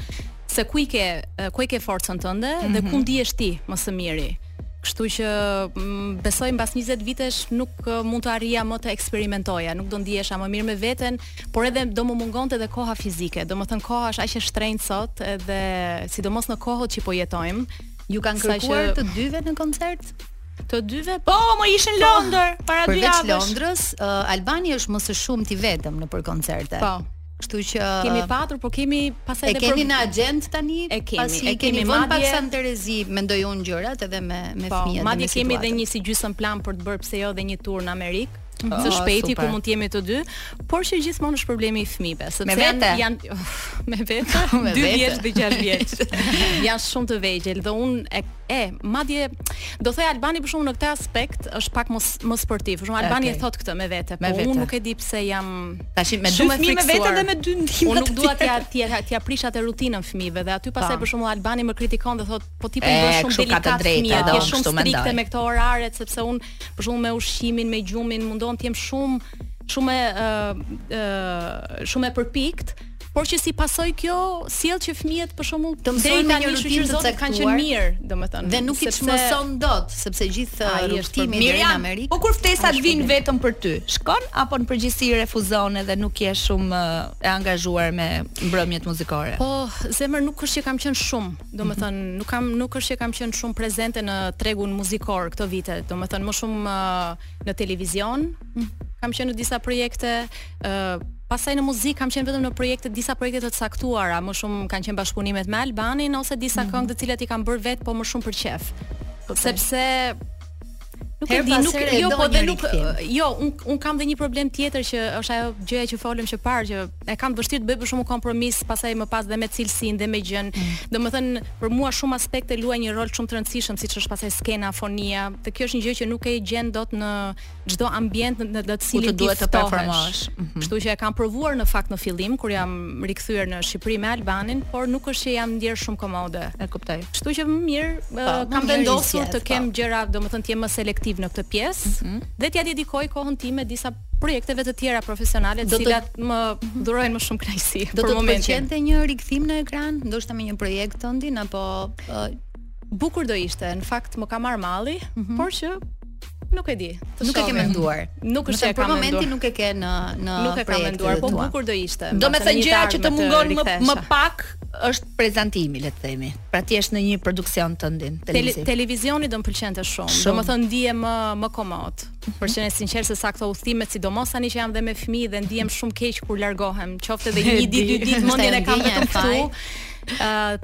S6: se ku i ke e, ku i ke forcën tënde dhe ku ndihesh ti më së miri. Kështu që mm, besoj mbas 20 vitesh nuk e, mund të arrija më të eksperimentoja, nuk do ndihesha më mirë me veten, por edhe do më mungonte edhe koha fizike. Domethënë koha është aq e shtrenjtë sot edhe sidomos në kohët që po jetojmë.
S4: Ju kanë
S6: Sa që-
S4: kërkuar të dyve në koncert?
S6: Të dyve
S5: Po, më ishin Londër para dy
S4: Përveç
S5: javësh.
S4: Londrës, ë, Albani është më së shumti vetëm nëpër koncerte.
S6: Po.
S4: Kështu që
S6: Kemi patur, por kemi pasaj
S4: E
S6: edhe
S4: keni
S6: për-
S4: në agent tani?
S6: E kemi,
S4: pasi
S6: e
S4: keni
S6: kemi,
S4: vënë pak
S6: madje-
S4: San Terezi, mendoj unë gjërat edhe me me
S6: Po,
S4: fëmijët. dhe
S6: madje
S4: me
S6: kemi edhe
S4: situatën.
S6: një si gjysëm plan për të bërë pse jo dhe një tur në Amerikë. Së
S4: Oh,
S6: shpejti
S4: super.
S6: ku mund të jemi të dy, por që gjithmonë është problemi i fëmijëve, sepse
S5: Me
S6: janë
S5: vete?
S6: janë me vete,
S4: Me
S6: 2
S4: vete.
S6: vjeç dhe 6 vjeç. janë shumë të vegjël dhe unë e, e madje do thoj Albani për shkakun në këtë aspekt është pak mos më sportiv. Për shkakun Albani
S5: Okej.
S6: e thot këtë me vete,
S5: Me
S6: po
S5: vete.
S6: unë nuk e di pse jam
S5: Tashin me dy
S6: shumë e
S5: fëmijë me vete
S6: friksuar.
S5: dhe me dy ndihmë.
S6: Unë nuk dua t'ja t'ja t'ja prish atë rutinën fëmijëve dhe aty pastaj
S5: Po.
S6: për shembull Albani më kritikon dhe thot po ti po
S5: E,
S6: i bësh shumë
S5: kështu ka të
S6: delikat
S5: drejtë,
S6: fëmijët,
S5: do,
S6: je shumë
S5: kështu mendoj.
S6: strikte me këto oraret sepse unë për shembull me ushqimin, me gjumin mundon të jem shumë shumë e ë ë, shumë e përpikt, por që si pasoj kjo sjell që fëmijët për shembull
S4: Të mësojnë
S6: deri
S4: me
S6: tani
S4: një rutinë
S6: shoqëzohet
S4: të
S6: kanë
S4: caktuar
S6: qenë mirë, domethënë.
S4: dhe nuk i
S6: sepse-
S4: çmëson dot, sepse gjithë
S6: Ai është
S4: rrugtimi deri në
S5: Miriam,
S4: Amerikë.
S5: po kur ftesat vinë vetëm për ty, shkon apo në përgjithësi refuzon edhe nuk je shumë uh, e angazhuar me mbrëmjet muzikore?
S6: Po, zemër nuk është që kam qenë shumë, domethënë nuk kam nuk është që kam qenë shumë prezente në tregun muzikor këto vite, domethënë më shumë ë, në televizion. Kam qenë në disa projekte, ë pastaj në muzikë kam qenë vetëm në projekte, disa projekte të caktuara, më shumë kanë qenë bashkëpunimet me Albanin ose disa këngë të cilat i kam bërë vetë, po më shumë për qef. Sepse Nuk
S4: Her
S6: e di,
S4: pas
S6: nuk
S4: here e
S6: jo,
S4: do
S6: po
S4: një
S6: dhe nuk
S4: rikthim.
S6: jo, un un kam dhe një problem tjetër që është ajo gjëja që folëm që parë që e kam të vështirë të bëj për shumë kompromis, pastaj më pas dhe me cilësinë dhe me gjën. Domethënë për mua shumë aspekte luajnë një rol shumë të rëndësishëm siç është pastaj skena, fonia. Dhe kjo është një gjë që nuk e gjen dot në çdo ambient në- në të
S5: të
S6: cilin ti
S5: duhet të
S6: ftohesh.
S5: performosh. Mhm.
S6: Kështu që e kam provuar në fakt në fillim kur jam rikthyer në Shqipëri me Albanin, por nuk është që jam ndjer shumë komode.
S5: E kuptoj.
S6: Kështu që më mirë ë,
S4: më
S6: kam
S4: mirë
S6: vendosur
S4: zgjedh, po.
S6: të
S4: Mhm.
S6: kem gjëra, domethënë të jem më selektiv në këtë pjesë dhe t'ja dedikoj kohën time disa projekteve të tjera profesionale, të
S4: Do të- Mhm.
S6: cilat më durojnë më shumë kënaqësi
S4: Do
S6: për
S4: të të
S6: momentin.
S4: pëlqente një rikthim në ekran, ndoshta me një projekt tëndin apo uh, ë,
S6: Bukur do ishte, në fakt më ka marr malli, por që nuk e di. Të
S4: Mhm. nuk e ke
S6: shohim.
S4: menduar.
S6: Nuk është
S4: Domethënë,
S6: e kam
S4: për momentin
S6: menduar.
S4: nuk e ke në në
S6: Nuk e kam
S4: projektet
S6: menduar,
S4: e
S6: po
S4: tua.
S6: bukur do ishte.
S5: Do me
S6: mbase
S5: thënë
S6: një
S5: gjëja
S6: targ
S5: që
S6: me
S5: të mungon më, më
S6: rikthesha.
S5: pak është prezantimi, le të themi. Pra ti është në një produksion të ndin,
S6: Tele,
S5: televiziv.
S6: televizioni do më pëlqente shumë.
S5: Shumë.
S6: Do më thënë ndihem më më komod. Për qenë sinqer se sa këto udhimet, sidomos tani që jam dhe me fëmijë dhe ndihem shumë keq kur largohem, qoftë edhe një ditë, dy ditë mendjen e kam
S4: Është e
S6: vetëm këtu.
S4: ndjenja e
S6: Uh,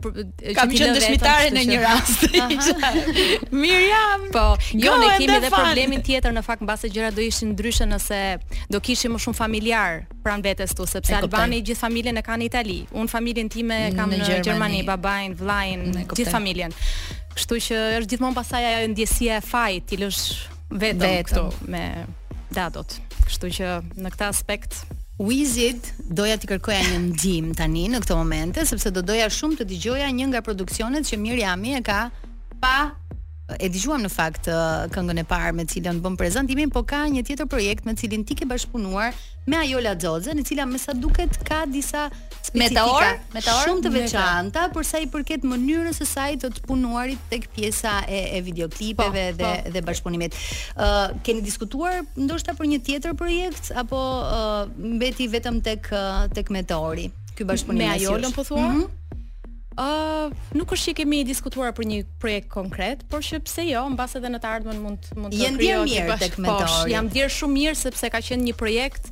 S5: Kam qenë dëshmitare në një rast. Mirjam.
S6: Po, jo
S5: go
S6: ne
S5: and
S6: kemi
S5: have
S6: edhe
S5: fun.
S6: problemin tjetër në fakt mbase gjërat do ishin ndryshe nëse do kishim më shumë familjar pranë vetes tu, sepse
S5: E kuptoj.
S6: Albani gjithë familjen e ka në Itali. Un familjen time e kam
S5: Në
S6: në,
S5: Gjermani.
S6: Gjermani, babain, vllain,
S5: E kuptoj.
S6: gjithë familjen. Kështu që është gjithmonë pasaj ajo ndjesia e fajit, ti lësh vetëm,
S5: Vetëm.
S6: këtu me datot. Kështu që në këtë aspekt
S4: Wizit doja t'i kërkoja një ndihmë tani në këtë momente sepse do doja shumë të dëgjoja një nga produksionet që Mirjami e ka pa e dëgjuam në fakt ë, këngën e parë me cilën bëm prezantimin, po ka një tjetër projekt me cilin ti ke bashkëpunuar me Ajola Xoxe, në cila me sa duket ka disa specifika
S5: Meteor? Meteor?
S4: shumë të veçanta për sa i përket mënyrës së saj të të punuarit tek pjesa e, e videoklipeve
S5: Po,
S4: dhe
S5: po.
S4: dhe bashkëpunimit. Ë keni diskutuar ndoshta për një tjetër projekt apo ë, mbeti vetëm tek ë, tek Meteori? Ky bashkëpunim
S6: Me
S4: mes
S6: Ajolën,
S4: jush?
S6: po thua?
S4: Mhm.
S6: Ë, nuk është që kemi diskutuar për një projekt konkret, por që pse jo, mbas edhe në të ardhmen mund mund të
S4: Je ndjerë
S6: krijohet një
S4: mirë
S6: bash-
S4: tek
S6: po,
S4: mentori.
S6: sh- Jam ndjer shumë mirë sepse ka qenë një projekt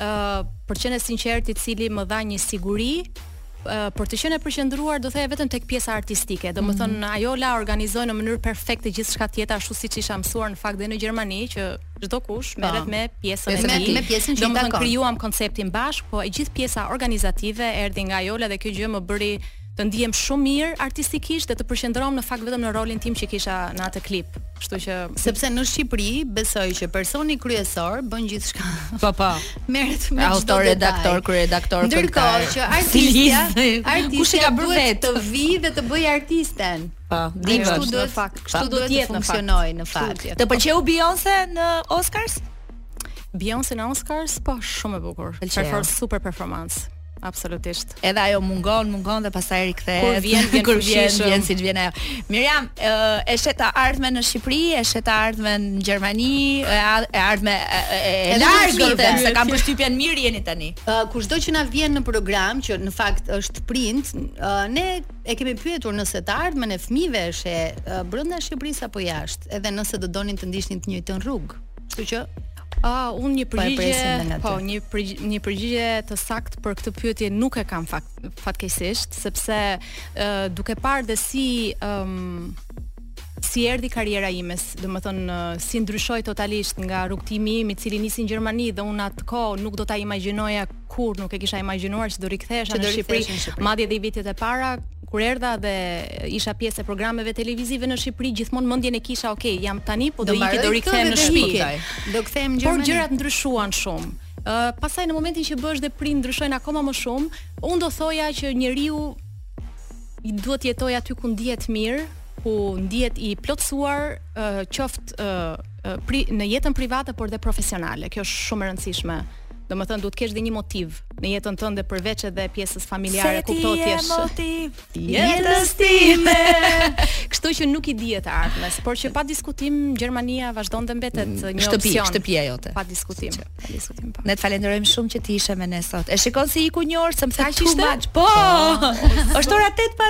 S6: ë për qenë sinqert i cili më dha një siguri ë, për të qenë e përqendruar do thëjë vetëm tek pjesa artistike. Do
S4: Mhm.
S6: të thonë ajo la organizoi në mënyrë perfekte gjithçka tjetër ashtu siç isha mësuar në fakt dhe në Gjermani që çdo kush merret me pjesën e
S4: Me-
S6: tij.
S4: me Po. pjesën që i
S6: Domethënë,
S4: takon.
S6: krijuam konceptin bashk, po e gjithë pjesa organizative erdhi nga Jola dhe kjo gjë më bëri të ndihem shumë mirë artistikisht dhe të përqendrohem në fakt vetëm në rolin tim që kisha në atë klip. Kështu që
S4: Sepse në Shqipëri besoj që personi kryesor bën gjithçka.
S5: Po po.
S4: Merret me
S5: Autor,
S4: çdo detaj.
S5: redaktor, kryeredaktor,
S4: Ndërkohë
S5: këngëtar,
S4: që artistja,
S5: stilist. Kush e
S4: artistja
S5: ka bërë
S4: duhet
S5: vetë?
S4: të vi dhe të bëj artisten.
S5: Po,
S4: Kështu
S5: divën.
S4: duhet,
S6: fakt.
S4: kështu
S6: Po.
S4: duhet
S6: Duhet
S4: të
S6: jetë në fakt.
S4: funksionoj në fakt.
S5: Të pëlqeu Beyoncé në Oscars?
S6: Beyoncé në Oscars po shumë e bukur.
S5: Pëlqeu.
S6: Perfor super performancë. Absolutisht.
S5: Edhe ajo mungon, mungon dhe pastaj rikthehet.
S6: Kur vjen, vjen
S5: kur vjen,
S6: fuqishëm.
S5: vjen siç vjen ajo. Miriam, ë, e sheta ardhmen në Shqipëri, e sheta ardhmen në Gjermani, e a- e ardhme e, e, e
S4: Edhe në
S5: largët,
S4: Shqipe.
S5: se kam përshtypjen mirë jeni tani.
S4: Uh, kushdo që na vjen në program që në fakt është print, uh, ne e kemi pyetur nëse të ardhmen e fëmijëve është e, uh, brenda Shqipërisë apo jashtë, edhe nëse do donin të ndiqnin të njëjtën rrugë. Kështu që
S6: Ah, unë një
S4: e
S6: përgjigje,
S4: presim dhe nga ty.
S6: po, një përgjigje, një përgjigje të saktë për këtë pyetje nuk e kam fakt, fatkeqësisht, sepse uh, duke parë dhe si um, si erdhi karriera ime, s- do të thënë uh, si ndryshoi totalisht nga rrugtimi im i cili nisi në Gjermani dhe unë atë kohë nuk do ta imagjinoja kur, nuk e kisha imagjinuar që do rikthehesha
S4: Që do
S6: në
S4: riktheheshe
S6: Shqipëri,
S4: në Shqipëri.
S6: madje edhe i vitet e para kur erdha dhe isha pjesë e programeve televizive në Shqipëri, gjithmonë mendjen e kisha, ok, jam tani, po do iki,
S4: mbaroj
S6: do
S4: këtë
S6: rikthehem
S4: dhe
S6: në
S4: do
S6: shtëpi.
S4: ikaj. Do kthehem në
S6: Por
S4: Gjermani.
S6: gjërat ndryshuan shumë. Uh, pastaj në momentin që bësh dhe prind ndryshojnë akoma më shumë, unë do thoja që njeriu i duhet të jetoj aty ku ndihet mirë, ku ndihet i plotësuar, uh, qoftë uh, uh, pri, në jetën private por dhe profesionale. Kjo është shumë e rëndësishme. Do më thënë, duhet kesh dhe një motiv në jetën tënde përveç edhe pjesës familjare, kuptohet ti jesh-
S5: motiv
S6: jetës time. Kështu që nuk i dihet e ardhmes, por që pa diskutim Gjermania vazhdon të mbetet një
S5: Mm, shtëpi,
S6: opsion.
S5: shtëpia jote.
S6: Pa diskutim. Pa diskutim pa.
S5: Ne të falenderojmë shumë që ti ishe me ne sot. E shikon si iku një orë, se më tha
S6: Kaq
S5: too
S6: ishte?
S5: much. Po. Është ora 8 pa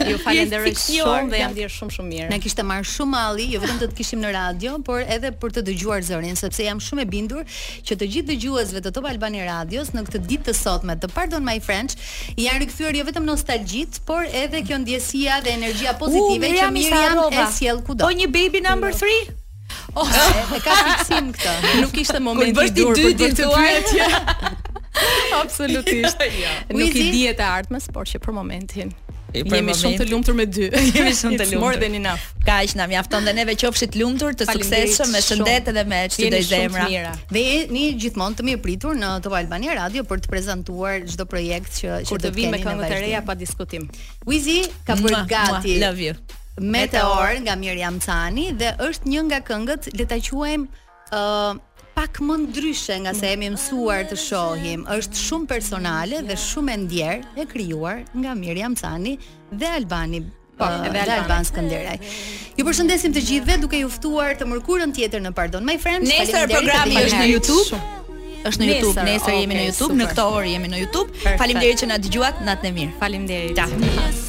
S5: 10.
S6: Ju falenderoj
S5: Je si
S6: shumë
S5: një
S6: dhe
S5: orë.
S6: jam ndier shumë shumë mirë.
S4: Na kishte marrë shumë alli, jo vetëm të të kishim në radio, por edhe për të dëgjuar zërin, sepse jam shumë e bindur që të gjithë dëgjuesve të Top Albani Radios në këtë ditë të sotme të Pardon My French janë rikthyer jo vetëm nostalgjit, por edhe kjo ndjesia dhe energjia pozitive që
S5: Miriam, i sa
S4: Miriam e
S5: harrova.
S4: sjell kudo.
S5: Po një baby number 3?
S4: E ka fiksim këtë.
S6: Nuk ishte momenti
S5: bësh
S6: i
S5: ti
S6: dur për
S5: dytin,
S6: këtë
S5: thuaj.
S6: pyetje. Absolutisht. Nuk i
S4: Wizi?
S6: dihet e ardhmes, por që për momentin.
S5: E, për
S6: Jemi shumë të
S5: momentin.
S6: lumtur me dy.
S5: Jemi shumë të
S6: It's More
S5: lumtur.
S6: than enough.
S5: Kaq na mjafton dhe neve qofshit lumtur, të
S6: Faleminderit
S5: suksesshëm, me
S6: shumë.
S5: shëndet edhe me
S6: Jeni
S5: çdo
S6: shumë të
S5: zemra.
S6: mira.
S4: Dhe je- ne jemi gjithmonë të mirëpritur në Top Albani Radio për të prezantuar çdo projekt që që
S6: Kur
S4: do
S6: të vi me
S4: keni në
S6: këngët e
S4: vazhdim.
S6: reja pa diskutim.
S4: Wizi ka bërë
S5: Mua,
S4: gati.
S5: mua, Love you.
S4: Meteor nga Miriam Cani dhe është një nga këngët le ta quajmë ë pak më ndryshe nga se jemi mësuar të shohim. Është shumë personale dhe shumë e ndjer e krijuar nga Miriam Cani dhe Albani Po,
S6: edhe
S4: dhe
S6: Albani.
S4: Alban Skënderaj. Ju përshëndesim të gjithëve duke ju ftuar të mërkurën tjetër në Pardon My Friends.
S5: Nesër
S4: Faleminderit dhe
S5: programi
S4: jemi
S5: është në
S4: herë.
S5: YouTube. Është në YouTube,
S6: Nesër,
S5: nesër jemi në
S6: okay,
S5: YouTube, në
S6: super.
S5: këtë orë jemi në YouTube. Faleminderit që na dëgjuat, natën e mirë.
S6: Faleminderit.
S5: Ta.